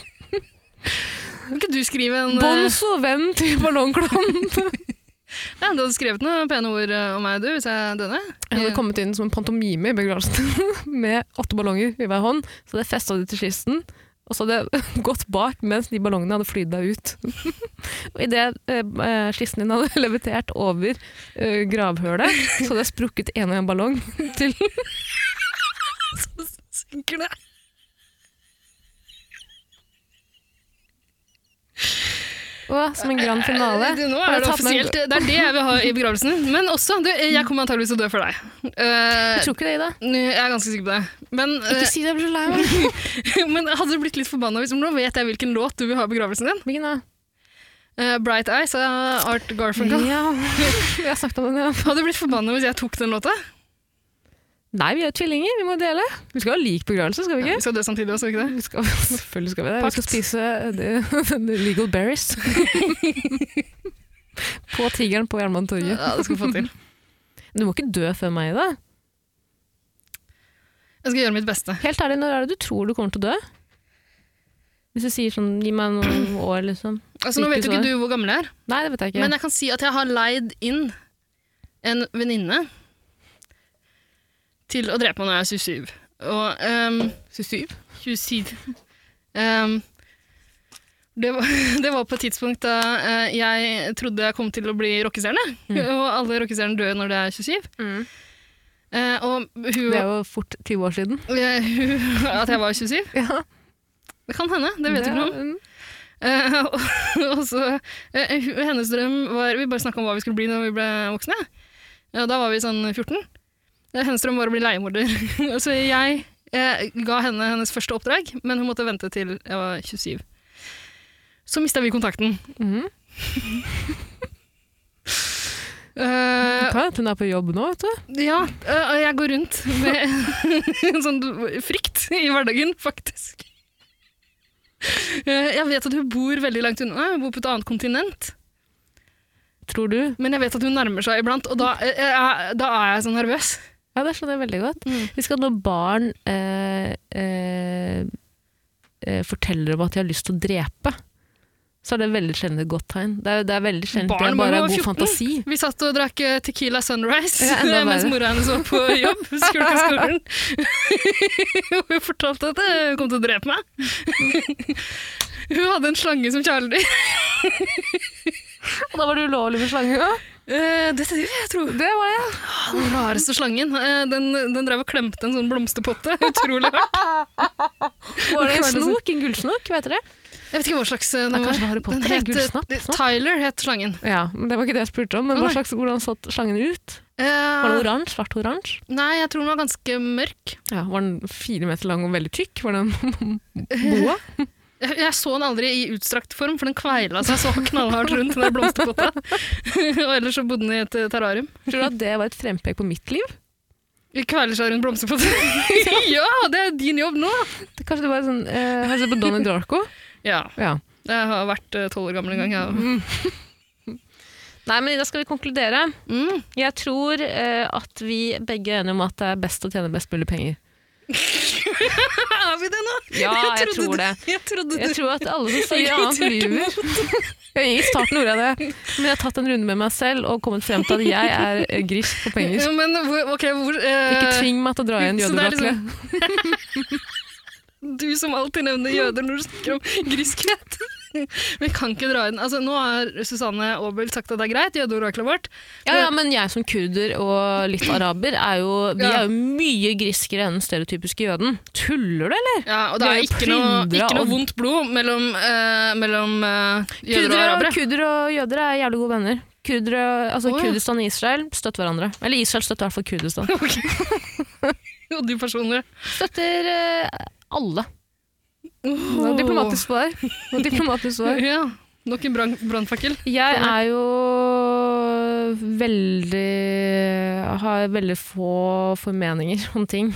Speaker 1: Kan ikke du skrive en eh,
Speaker 2: Bonzo, venn til ballongklovn.
Speaker 1: ja, Du hadde skrevet noen pene ord eh, om meg, du, hvis jeg døde.
Speaker 2: Jeg hadde kommet inn som en pantomime i begravelsen [LAUGHS] med åtte ballonger i hver hånd. Så hadde jeg festa de til kisten, og så hadde jeg [LAUGHS] gått bak mens de ballongene hadde flydd deg ut. [LAUGHS] Og idet eh, kisten din hadde [LAUGHS] levitert over eh, gravhølet, så hadde jeg sprukket en og en ballong til
Speaker 1: Synker det?
Speaker 2: Å, som en grand finale.
Speaker 1: Du, nå
Speaker 2: Har
Speaker 1: er
Speaker 2: du
Speaker 1: det
Speaker 2: tatt med en-
Speaker 1: offisielt. eh, Det er det jeg vil ha [LAUGHS] i begravelsen. Men også, du, eh, jeg kommer antageligvis til å dø for deg. Eh,
Speaker 2: Jeg tror ikke det, Ida.
Speaker 1: jeg er ganske sikker på det. Men,
Speaker 2: Ikke si det, jeg blir så lei meg.
Speaker 1: eh, [LAUGHS] men hadde du blitt litt forbanna hvis Nå vet jeg hvilken låt du vil ha i begravelsen din.
Speaker 2: Hvilken da?
Speaker 1: Eh, 'Bright Eyes' av Art Garfunkel.
Speaker 2: Ja, [LAUGHS] vi har snakket om den, ja.
Speaker 1: [LAUGHS] Hadde du blitt forbanna hvis jeg tok den låta?
Speaker 2: Nei, vi er jo tvillinger, vi må dele. Vi skal ha lik begravelse, skal vi ikke?
Speaker 1: Vi skal dø samtidig også, ikke det?
Speaker 2: Vi skal, selvfølgelig skal vi det.
Speaker 1: Pakt.
Speaker 2: Vi skal spise eh, det, [LAUGHS] det legal [LAUGHS] berries. på tigeren på Jernbanetorget.
Speaker 1: Ja, det skal vi få til.
Speaker 2: Du må ikke dø før meg, da.
Speaker 1: [LAUGHS] Jeg skal gjøre mitt beste.
Speaker 2: Helt ærlig, når er det du tror du kommer til å dø? Hvis du sier sånn, gi meg noen år, liksom.
Speaker 1: Altså, nå vet jo ikke du hvor gammel jeg er,
Speaker 2: Nei, det vet jeg ikke.
Speaker 1: men jeg kan si at jeg har leid inn en venninne til å drepe meg når jeg er 27. Og ehm,
Speaker 2: 27?
Speaker 1: 27. Ehm, det, var, [LAUGHS] det var på et tidspunkt da eh, jeg trodde jeg kom til å bli rockestjerne. [LAUGHS] Og alle rockestjerner dør når det er 27.
Speaker 2: Mm.
Speaker 1: Eh, og hun,
Speaker 2: Det er jo fort 20 år siden.
Speaker 1: eh, hun [LAUGHS] At jeg var 27?
Speaker 2: Ja,
Speaker 1: Det kan hende. Det vet jeg ikke noe om. Eh, [LAUGHS] og- og så, eh, hun- hennes drøm var Vi bare snakka om hva vi skulle bli når vi ble voksne. Ja, da var vi sånn 14. Eh, Hennes drøm var å bli leiemorder. [LAUGHS] så jeg eh, ga henne hennes første oppdrag, men hun måtte vente til jeg var 27. Så mista vi kontakten.
Speaker 2: Mhm.
Speaker 1: Eh,
Speaker 2: Kan hende hun er på jobb nå, vet du.
Speaker 1: ja, øh, og jeg går rundt med [LAUGHS] en sånn frykt i hverdagen, faktisk. Eh, Jeg vet at hun bor veldig langt unna, hun bor på et annet kontinent,
Speaker 2: Tror du?
Speaker 1: men jeg vet at hun nærmer seg iblant, og da, eh, jeg- da er jeg så nervøs.
Speaker 2: Ja, det skjønner jeg veldig godt.
Speaker 1: Mm.
Speaker 2: Husk at når barn eh, eh, eh, forteller om at de har lyst til å drepe, så er det veldig sjelden et godt tegn. Det er, det er veldig sjelden det
Speaker 1: Barn
Speaker 2: er
Speaker 1: må jo
Speaker 2: bare
Speaker 1: være
Speaker 2: god
Speaker 1: 14.
Speaker 2: fantasi.
Speaker 1: Vi satt og drakk eh, Tequila Sunrise
Speaker 2: Ja, enda
Speaker 1: [LAUGHS] mens
Speaker 2: verre.
Speaker 1: mora hennes var på [LAUGHS] jobb, skulle til skolen. [LAUGHS] Og hun fortalte at eh, hun kom til å drepe meg. [LAUGHS] Hun hadde en slange som kjæledyr.
Speaker 2: Og da var det ulovlig med slange òg.
Speaker 1: Eh, Det vil jeg tro.
Speaker 2: Det var jeg.
Speaker 1: Den rareste slangen. eh, Den, den drev og klemte en sånn blomsterpotte. [LAUGHS] Utrolig hardt.
Speaker 2: Var [LAUGHS] det en
Speaker 1: Hva er det som-
Speaker 2: snok? En gullsnok, vet dere?
Speaker 1: Jeg vet ikke hva slags eh,
Speaker 2: Nei,
Speaker 1: den
Speaker 2: kanskje det var
Speaker 1: var.
Speaker 2: Harry Potter,
Speaker 1: Den het,
Speaker 2: gullsnapp,
Speaker 1: eh,
Speaker 2: snapp.
Speaker 1: Tyler het slangen.
Speaker 2: sånn. Ja, men Det var ikke det jeg spurte om. men
Speaker 1: Å,
Speaker 2: hva
Speaker 1: nei.
Speaker 2: slags, Hvordan satt slangen ut?
Speaker 1: Eh,
Speaker 2: Var den oransje? Svart-oransje?
Speaker 1: nei, jeg tror den var ganske mørk.
Speaker 2: Ah. Ja, Var den fire meter lang og veldig tykk? Var den [LAUGHS] boa?
Speaker 1: Jeg, jeg så den aldri i utstrakt form, for den kveila seg så knallhardt rundt den der blomsterpotta. [LAUGHS] og ellers så bodde den i et eh, terrarium.
Speaker 2: Tror du at det var et frempek på mitt liv?
Speaker 1: Vi kveiler seg rundt blomsterpotta. [LAUGHS] ja, det er din jobb nå!
Speaker 2: Det- Kanskje det var sånn eh, Har du sett på Donnie Darko?
Speaker 1: Ja,
Speaker 2: Ja.
Speaker 1: jeg har vært eh, tolv år gammel en gang, jeg.
Speaker 2: Nei, men Ida, skal vi konkludere?
Speaker 1: Mm. [LAUGHS]
Speaker 2: Jeg tror eh, at vi begge er enige om at det er best å tjene best mulig penger.
Speaker 1: Er vi det nå?
Speaker 2: Ja, jeg
Speaker 1: trodde
Speaker 2: tror
Speaker 1: du-
Speaker 2: det.
Speaker 1: Jeg trodde
Speaker 2: Jeg
Speaker 1: du
Speaker 2: tror at alle som
Speaker 1: [LAUGHS]
Speaker 2: sier
Speaker 1: argumenterte
Speaker 2: annet, lyver.
Speaker 1: mot-
Speaker 2: [LAUGHS] Jeg- I starten gjorde jeg det, men jeg har tatt en runde med meg selv og kommet frem til at jeg er eh, grisk på penger.
Speaker 1: Ja, Men hvor- ok, hvor eh,
Speaker 2: Ikke tving meg til å dra i en
Speaker 1: Så det er liksom-
Speaker 2: jødebrakke.
Speaker 1: Du som alltid nevner jøder når du snakker om [LAUGHS] griskhet. [LAUGHS] Vi kan ikke dra inn. Altså, nå har Susanne Aabel sagt at det er greit, jødeoraklet vårt.
Speaker 2: Ja, ja, men jeg som kurder og litt araber, er jo, vi
Speaker 1: Ja.
Speaker 2: er jo mye griskere enn den stereotypiske jøden. Tuller du, eller?
Speaker 1: Ja, og
Speaker 2: Vi
Speaker 1: det er
Speaker 2: er jo
Speaker 1: ikke noe,
Speaker 2: plyndra
Speaker 1: ikke noe
Speaker 2: og-
Speaker 1: vondt blod mellom, eh, mellom eh, jøder og
Speaker 2: Kurdere og,
Speaker 1: arabere.
Speaker 2: kurder og jøder er jævlig gode venner. Kurdere, altså
Speaker 1: Å, ja.
Speaker 2: Kurdistan og Israel støtter hverandre. Eller Israel støtter i hvert fall Kurdistan.
Speaker 1: Ok. [LAUGHS] og du personlig.
Speaker 2: Støtter eh, alle. Det var diplomatisk svar. Det var diplomatisk svar.
Speaker 1: [LAUGHS] Ja, nok en brann- brannfakkel.
Speaker 2: Jeg er jo veldig Har veldig få formeninger om ting.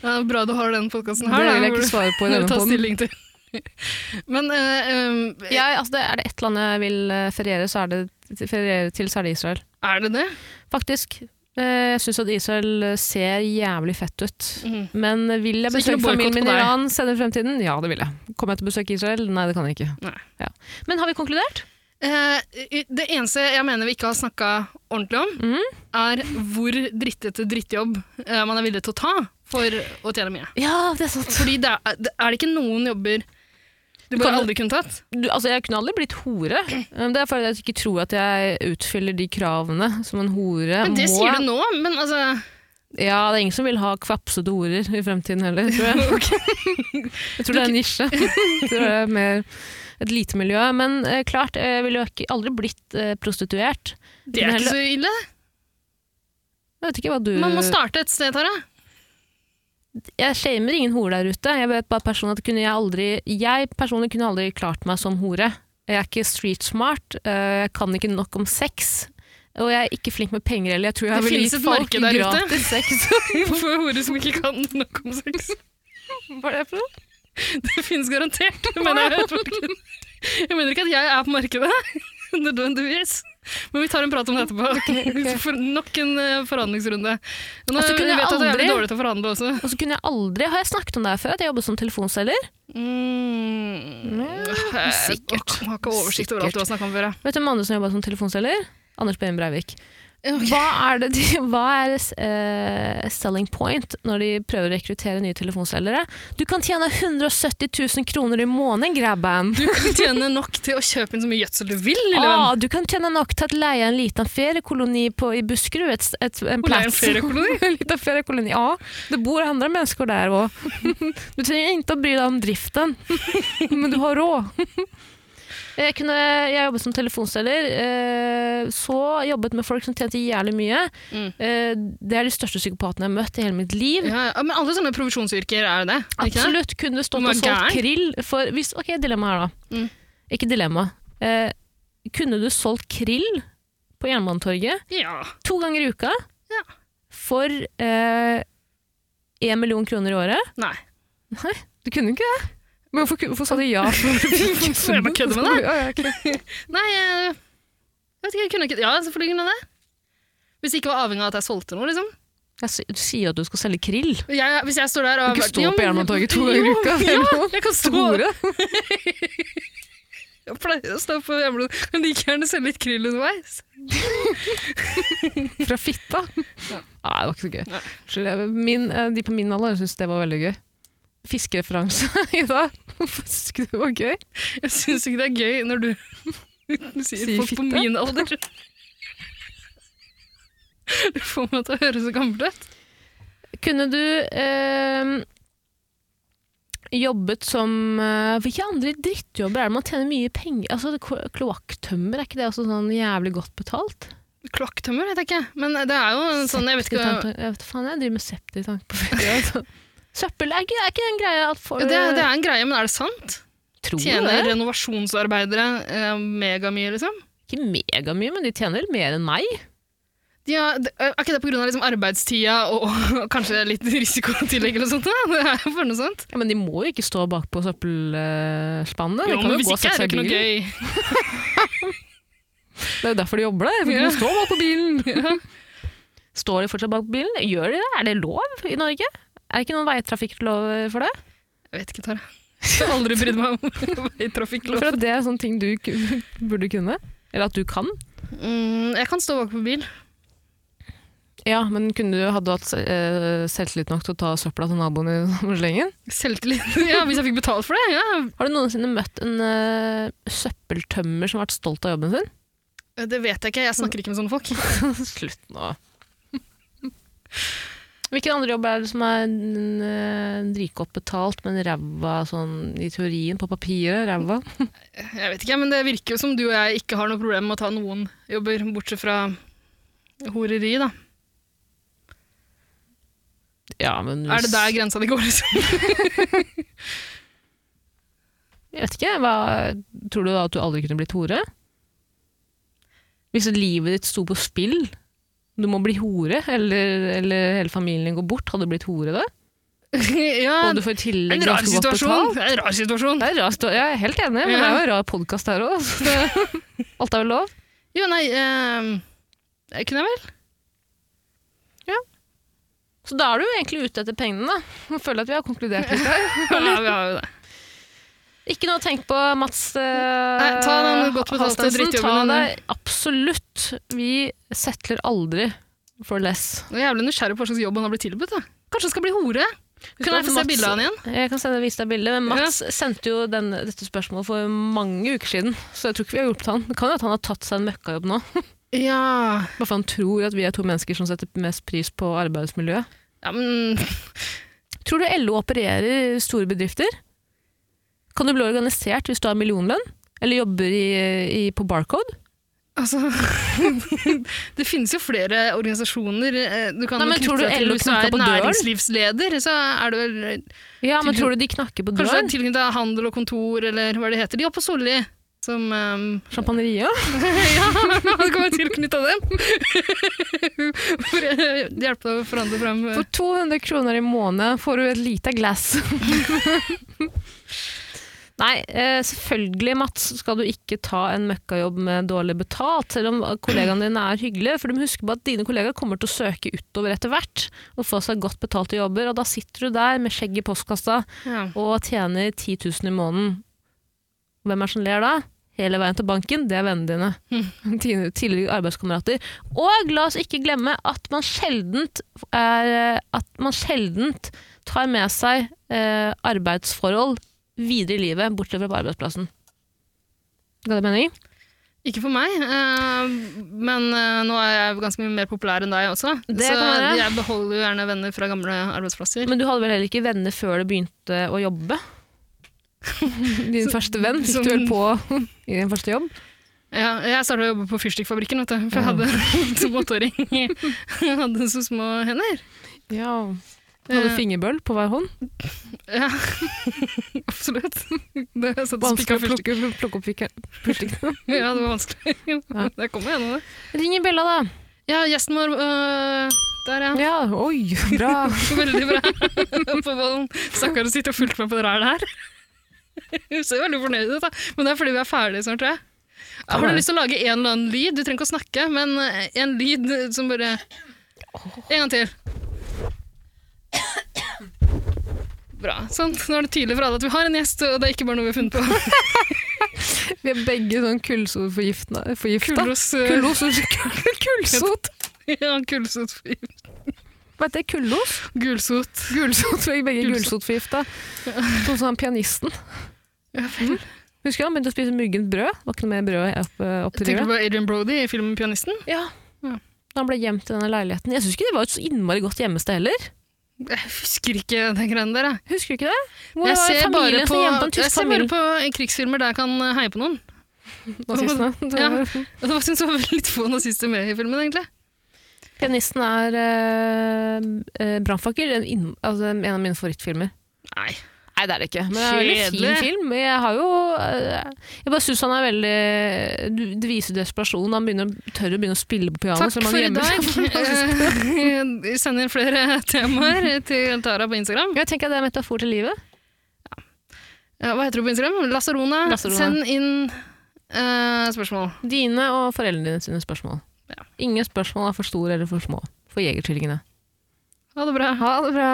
Speaker 1: Ja, bra du har den podkasten
Speaker 2: Det vil
Speaker 1: her.
Speaker 2: jeg
Speaker 1: hvor
Speaker 2: ikke
Speaker 1: du-
Speaker 2: svare på i
Speaker 1: hvor [LAUGHS] du
Speaker 2: denne
Speaker 1: tar
Speaker 2: poden.
Speaker 1: stilling til. Men eh, eh,
Speaker 2: Jeg, altså det, er det ett land jeg vil eh, feriere, så er det, feriere til, så er det Israel.
Speaker 1: er det det?
Speaker 2: Faktisk. Eh, Jeg syns at Israel eh, ser jævlig fett ut.
Speaker 1: Mm.
Speaker 2: Men vil jeg
Speaker 1: Så ikke
Speaker 2: besøke
Speaker 1: noe boikott
Speaker 2: familien min
Speaker 1: på
Speaker 2: i
Speaker 1: deg?
Speaker 2: Iran senere i fremtiden? Ja, det vil jeg. Kommer jeg til å besøke Israel? Nei, det kan jeg ikke.
Speaker 1: Nei.
Speaker 2: Ja. Men har vi konkludert?
Speaker 1: Eh, det eneste jeg mener vi ikke har snakka ordentlig om,
Speaker 2: Mhm.
Speaker 1: er hvor drittete drittjobb eh, man er villig til å ta for å tjene mye.
Speaker 2: Ja, det er sant.
Speaker 1: Fordi det er, det er det ikke noen jobber du bare
Speaker 2: kan-
Speaker 1: aldri kunne tatt.
Speaker 2: Du, altså, jeg kunne aldri blitt hore. Um, Det er fordi jeg ikke tror at jeg utfyller de kravene som en hore
Speaker 1: Men det
Speaker 2: må.
Speaker 1: sier du nå, men altså
Speaker 2: [LAUGHS] Ja, det er ingen som vil ha kvapsete horer i fremtiden heller, tror jeg.
Speaker 1: ok.
Speaker 2: Jeg tror det er en nisje. Jeg tror det er mer et lite miljø. Men eh, klart, jeg ville jo ikke, aldri blitt eh, prostituert.
Speaker 1: Det er ikke så ille.
Speaker 2: Jeg vet ikke hva du
Speaker 1: Man må starte et sted, Tara.
Speaker 2: jeg shamer ingen hore der ute. Jeg vet bare personlig at kunne jeg aldri Jeg personlig kunne aldri klart meg som hore. Jeg er ikke street smart. øh, Jeg kan ikke nok om sex. Og jeg er ikke flink med penger heller. Jeg tror jeg
Speaker 1: Det
Speaker 2: ville
Speaker 1: finnes
Speaker 2: gitt
Speaker 1: et
Speaker 2: folk
Speaker 1: marked der ute. [LAUGHS]
Speaker 2: gratis sex.
Speaker 1: For horer som ikke kan nok om sex.
Speaker 2: Hva er det for noe?
Speaker 1: Det finnes [LAUGHS] garantert. Men jeg, vet, jeg mener ikke at jeg er på markedet, [LAUGHS] nødvendigvis. Men vi tar en prat om det etterpå.
Speaker 2: [LAUGHS]
Speaker 1: For nok en eh, forhandlingsrunde. Nå
Speaker 2: Altså, kunne
Speaker 1: jeg vet at det er
Speaker 2: aldri-
Speaker 1: jævlig dårlig til å forhandle også.
Speaker 2: Og så kunne jeg aldri, Har jeg snakket om det her før? At jeg jobbet som telefonselger?
Speaker 1: Mm.
Speaker 2: sikkert.
Speaker 1: Jeg har ikke oversikt over alt du har snakka om før. jeg.
Speaker 2: Vet du hvem andre som jobba som telefonselger? Anders Behn Breivik. Hva er, det de, hva er eh, selling point når de prøver å rekruttere nye telefonselgere? Du kan tjene 170 000 kroner i måneden, grabban!
Speaker 1: Du kan tjene nok til å kjøpe inn så mye gjødsel du vil, lille venn.
Speaker 2: Ah, du kan tjene nok til å leie en liten feriekoloni på, i Buskerud. Et, et, en
Speaker 1: Hvor det er en
Speaker 2: plass.
Speaker 1: feriekoloni.
Speaker 2: [LAUGHS] En liten feriekoloni, ja. Det bor andre mennesker der
Speaker 1: [LAUGHS]
Speaker 2: òg. Du trenger ikke å bry deg om driften, men du har råd. Jeg, kunne, jeg jobbet som telefonselger, eh, så jobbet med folk som tjente jævlig mye.
Speaker 1: Mm.
Speaker 2: Eh, Det er de største psykopatene jeg har møtt i hele mitt liv.
Speaker 1: Ja, ja. Men alle sånne provisjonsyrker er jo det. er det ikke det?
Speaker 2: Absolutt kunne stått
Speaker 1: Men
Speaker 2: og solgt
Speaker 1: gæren?
Speaker 2: krill for hvis, Ok, dilemma her, da.
Speaker 1: Mm.
Speaker 2: Ikke dilemma. Eh, kunne du solgt krill på Jernbanetorget
Speaker 1: Ja.
Speaker 2: to ganger i uka
Speaker 1: Ja.
Speaker 2: for én million kroner i året?
Speaker 1: Nei.
Speaker 2: Nei, du kunne ikke det. Men hvorfor, hvorfor sa du ja?
Speaker 1: For [LAUGHS] jeg bare kødder med deg.
Speaker 2: Ja, ja, ok.
Speaker 1: Nei, jeg jeg vet ikke, jeg kunne ikke Ja, selvfølgelig kunne jeg det. Hvis det ikke var avhengig av at jeg solgte noe, liksom.
Speaker 2: Jeg si- Du sier jo at du skal selge krill.
Speaker 1: [LAUGHS]
Speaker 2: Du
Speaker 1: Jeg, hvis jeg står der og
Speaker 2: kan ikke stå
Speaker 1: Ja,
Speaker 2: på
Speaker 1: men-
Speaker 2: Jernbanetorget to ganger i uka. det er
Speaker 1: Jo,
Speaker 2: noe.
Speaker 1: ja, jeg kan stå
Speaker 2: Store.
Speaker 1: Jeg pleier å stå på hjemmeblod. Kan like gjerne selge litt krill underveis.
Speaker 2: Fra
Speaker 1: [LAUGHS]
Speaker 2: fitta? Nei, det var ikke så gøy.
Speaker 1: Nei.
Speaker 2: Unnskyld, jeg- Min, eh, de på min alder syns det var veldig gøy. Fiskereferanse [LAUGHS] i dag. Hvorfor syns ikke du det var gøy?
Speaker 1: Jeg syns ikke det er gøy når du, [LAUGHS] du sier,
Speaker 2: Sier
Speaker 1: folk på
Speaker 2: fitte.
Speaker 1: min alder. Du får meg til å høre så gammel ut.
Speaker 2: Kunne du eh, jobbet som eh, Hvilke andre drittjobber er det man tjener mye penger Altså, det- Kloakktømmer, er ikke det også sånn jævlig godt betalt?
Speaker 1: Kloakktømmer vet jeg ikke, men det er jo en sånn Jeg vet ikke
Speaker 2: Septiktank- jeg vet faen, jeg driver med septiktank på ferie.
Speaker 1: [LAUGHS]
Speaker 2: altså. Søppel er ikke, er ikke en greie at folk
Speaker 1: Ja, det, er- det er en greie, men er det sant?
Speaker 2: tror du
Speaker 1: Tjener
Speaker 2: det?
Speaker 1: renovasjonsarbeidere eh, megamye, liksom?
Speaker 2: Ikke megamye, men de tjener mer enn meg.
Speaker 1: De har, de, er ikke det pga. Liksom arbeidstida og, og kanskje litt [LAUGHS] risikotillegg eller sånt? Da? [LAUGHS] Det er jo for noe sånt.
Speaker 2: Ja, Men de må jo ikke stå bakpå søppelspannet.
Speaker 1: Jo,
Speaker 2: De kan
Speaker 1: men
Speaker 2: jo
Speaker 1: hvis
Speaker 2: gå og
Speaker 1: ikke
Speaker 2: sette
Speaker 1: er
Speaker 2: seg i
Speaker 1: det ikke noe
Speaker 2: bilen.
Speaker 1: gøy.
Speaker 2: Det er jo derfor de jobber der. For de
Speaker 1: Ja.
Speaker 2: må stå bakpå [LAUGHS] bilen. Står de fortsatt bak bilen? Gjør de det? Er det lov i Norge? Er det ikke noen veitrafikklov for det?
Speaker 1: Jeg vet ikke, Tara. Jeg har aldri brydd meg om [LAUGHS] veitrafikklov.
Speaker 2: For at det er sånne ting du ku- [LAUGHS] burde kunne. Eller at du kan.
Speaker 1: Mm, jeg kan stå bak på bil.
Speaker 2: Ja, men kunne du hadde du hatt eh, selvtillit nok til å ta søpla til naboen [LAUGHS] i slengen?
Speaker 1: Selvtillit. [LAUGHS] Ja, hvis jeg fikk betalt for det. Ja.
Speaker 2: Har du noensinne møtt en eh, søppeltømmer som har vært stolt av jobben sin?
Speaker 1: Det vet jeg ikke. Jeg snakker ikke med sånne folk.
Speaker 2: [LAUGHS] Slutt nå. Hvilken andre jobb er det som er eh, dritgodt betalt, men ræva sånn i teorien, på papiret? Ræva?
Speaker 1: Jeg vet ikke, men Det virker jo som du og jeg ikke har noe problem med å ta noen jobber, bortsett fra horeri. da.
Speaker 2: Ja, men
Speaker 1: Er det der grensa di går? liksom? [LAUGHS]
Speaker 2: Jeg vet ikke. Hva, tror du da at du aldri kunne blitt hore? Hvis livet ditt sto på spill, du må bli hore, eller, eller hele familien din går bort, hadde du blitt hore da?
Speaker 1: ja,
Speaker 2: Og du får i
Speaker 1: det er
Speaker 2: tillegg
Speaker 1: en rar
Speaker 2: ganske godt
Speaker 1: situasjon.
Speaker 2: betalt?
Speaker 1: Det er en rar situasjon.
Speaker 2: Det er rart, jeg er helt enig, men det er jo en rar podkast her òg. [LAUGHS] Alt er vel lov?
Speaker 1: Jo, nei ehm, det Kunne jeg vel?
Speaker 2: Så da er du jo egentlig ute etter pengene, da. Jeg føler at vi har konkludert litt her.
Speaker 1: [LAUGHS] Ja, vi har jo det.
Speaker 2: [LAUGHS] Ikke noe å tenke på, Mats. eh,
Speaker 1: Nei, ta den godt betalte
Speaker 2: Halstensen.
Speaker 1: drittjobben.
Speaker 2: Ta deg absolutt. Vi settler aldri for less.
Speaker 1: Jeg er jævlig nysgjerrig på hva slags jobb han har blitt tilbudt. da. Kanskje han skal bli hore? Kan jeg få se
Speaker 2: Mats-
Speaker 1: bildet av han igjen?
Speaker 2: Jeg kan sende, vise deg bildet, men Mats sendte jo den, dette spørsmålet for mange uker siden, så jeg tror ikke vi har hjulpet han. Det kan jo at han har tatt seg en møkkajobb nå,
Speaker 1: Ja,
Speaker 2: bare for han tror at vi er to mennesker som setter mest pris på arbeidsmiljøet.
Speaker 1: ja men
Speaker 2: Tror du LO opererer i store bedrifter? Kan du bli organisert hvis du har millionlønn? Eller jobber i, i, på Barcode?
Speaker 1: Altså, [LAUGHS] det finnes jo flere organisasjoner. eh, Du kan
Speaker 2: Nei, men
Speaker 1: knytte
Speaker 2: tror du
Speaker 1: deg til
Speaker 2: LO
Speaker 1: hvis du er
Speaker 2: knakker på døren?
Speaker 1: næringslivsleder, så er du vel
Speaker 2: Ja, men
Speaker 1: Tilknytt-
Speaker 2: tror du de knakker på
Speaker 1: kanskje
Speaker 2: døren?
Speaker 1: tilknyttet handel og kontor, eller hva det heter. De er på Solli. Som [LAUGHS] ehm,
Speaker 2: Champagneria?
Speaker 1: [LAUGHS] Ja, man kan være tilknytta dem! [LAUGHS] For å hjelpe deg å forhandle fram eh,
Speaker 2: For [LAUGHS] 200 kroner i måneden får du et lite glass. Nei, eh, selvfølgelig Mats skal du ikke ta en møkkajobb med dårlig betalt, selv om kollegaene dine er hyggelige, for du må huske på at dine kollegaer kommer til å søke utover etter hvert og få seg godt betalte jobber, og da sitter du der med skjegg i postkassa
Speaker 1: Ja.
Speaker 2: og tjener 10 000 i måneden. Hvem er det som ler da? Hele veien til banken, det er vennene [LAUGHS] dine. Tidligere- Tidligere arbeidskamerater. Og la oss ikke glemme at man sjeldent, er, eh, at man sjeldent tar med seg eh, arbeidsforhold videre i livet, bortsett fra på arbeidsplassen. Ga det mening?
Speaker 1: Ikke for meg, eh, men eh, nå er jeg ganske mye mer populær enn deg også.
Speaker 2: Det
Speaker 1: så
Speaker 2: kan være.
Speaker 1: jeg beholder jo gjerne venner fra gamle arbeidsplasser.
Speaker 2: Men du hadde vel heller ikke venner før du begynte å jobbe? Din første venn fikk du vel på [LAUGHS] i din første jobb?
Speaker 1: Ja, jeg starta å jobbe på fyrstikkfabrikken, vet du, for jeg hadde en [LAUGHS] tomåtåring. Jeg hadde så små hender.
Speaker 2: Ja. Hadde
Speaker 1: Eh,
Speaker 2: fingerbøl på hver hånd?
Speaker 1: Ja, [LAUGHS] absolutt. Det er sånn at
Speaker 2: Vanskelig
Speaker 1: spikka
Speaker 2: å
Speaker 1: fyrstikk.
Speaker 2: plukke, plukke opp fyrstikkene.
Speaker 1: Ja, det var vanskelig. Der kommer jeg nå, det.
Speaker 2: Ring i bjella, da.
Speaker 1: Ja, gjesten vår øh, Der, ja.
Speaker 2: Ja, oi, bra.
Speaker 1: Veldig bra. [LAUGHS] på ballen. Stakkar å sitte og fulgte med på det rælet her. [LAUGHS] Hun ser veldig fornøyd ut, da. Men det er fordi vi er ferdige snart, tror jeg. Har du
Speaker 2: være.
Speaker 1: lyst til å lage en eller annen lyd? Du trenger ikke å snakke, men eh, en lyd som bare En gang til. Bra. Sånn. Nå er det tydelig for alle at vi har en gjest, og det er ikke bare noe vi har funnet
Speaker 2: [LAUGHS]
Speaker 1: på.
Speaker 2: Vi er begge sånn kullsotforgifta. Kullsot?
Speaker 1: Kullos, eh,
Speaker 2: [LAUGHS] Kullsot?
Speaker 1: [LAUGHS] ja, kulsot,
Speaker 2: Hva heter det? Kullos?
Speaker 1: gulsot
Speaker 2: Gulsot, vi er begge
Speaker 1: Gulsot.
Speaker 2: gulsotforgifta. Sånn som han pianisten.
Speaker 1: Ja, vel.
Speaker 2: Husker du han begynte å spise muggent brød? Var ikke noe mer brød opp, eh, opp til
Speaker 1: Tenker
Speaker 2: livet?
Speaker 1: du på Adrian Brody i filmen 'Pianisten'?
Speaker 2: Ja.
Speaker 1: Ja.
Speaker 2: Da han ble gjemt i denne leiligheten. Jeg syns ikke det var et så innmari godt gjemmested heller.
Speaker 1: Jeg husker ikke den greiene der, jeg.
Speaker 2: Husker du ikke det? Hvor
Speaker 1: jeg
Speaker 2: var
Speaker 1: ser, bare
Speaker 2: familien
Speaker 1: på,
Speaker 2: som gjemte en
Speaker 1: jeg
Speaker 2: tysk
Speaker 1: ser bare
Speaker 2: familie?
Speaker 1: på krigsfilmer der jeg kan eh, heie på noen. [LAUGHS]
Speaker 2: Nazistene. Det
Speaker 1: Ja.
Speaker 2: var-
Speaker 1: Og da synes jeg det var litt få nazister med i filmen, egentlig.
Speaker 2: Pianisten er uh, Brannfakkel, en, inn- altså, en av mine favorittfilmer.
Speaker 1: Nei.
Speaker 2: Nei, det er det ikke. Men det er en veldig
Speaker 1: Kjedelig.
Speaker 2: fin film. Jeg har jo eh, Jeg bare syns han er veldig du- Det viser desperasjon. Han begynner, å- tør å begynne å spille på piano.
Speaker 1: Takk
Speaker 2: selv om
Speaker 1: for
Speaker 2: han
Speaker 1: i
Speaker 2: er [LAUGHS] hjemme.
Speaker 1: dag. [LAUGHS] Eh, Vi sender flere [LAUGHS] temaer til Tara på Instagram.
Speaker 2: Jeg tenker at det er metafor til livet.
Speaker 1: Eh, Hva heter du på Instagram? Lasarona.
Speaker 2: Lasarona.
Speaker 1: Send inn eh, spørsmål.
Speaker 2: Dine og foreldrene dine sine spørsmål.
Speaker 1: Ja.
Speaker 2: Ingen spørsmål er for store eller for små for Jegertvillingene.
Speaker 1: Ha det bra.
Speaker 2: Ha det bra.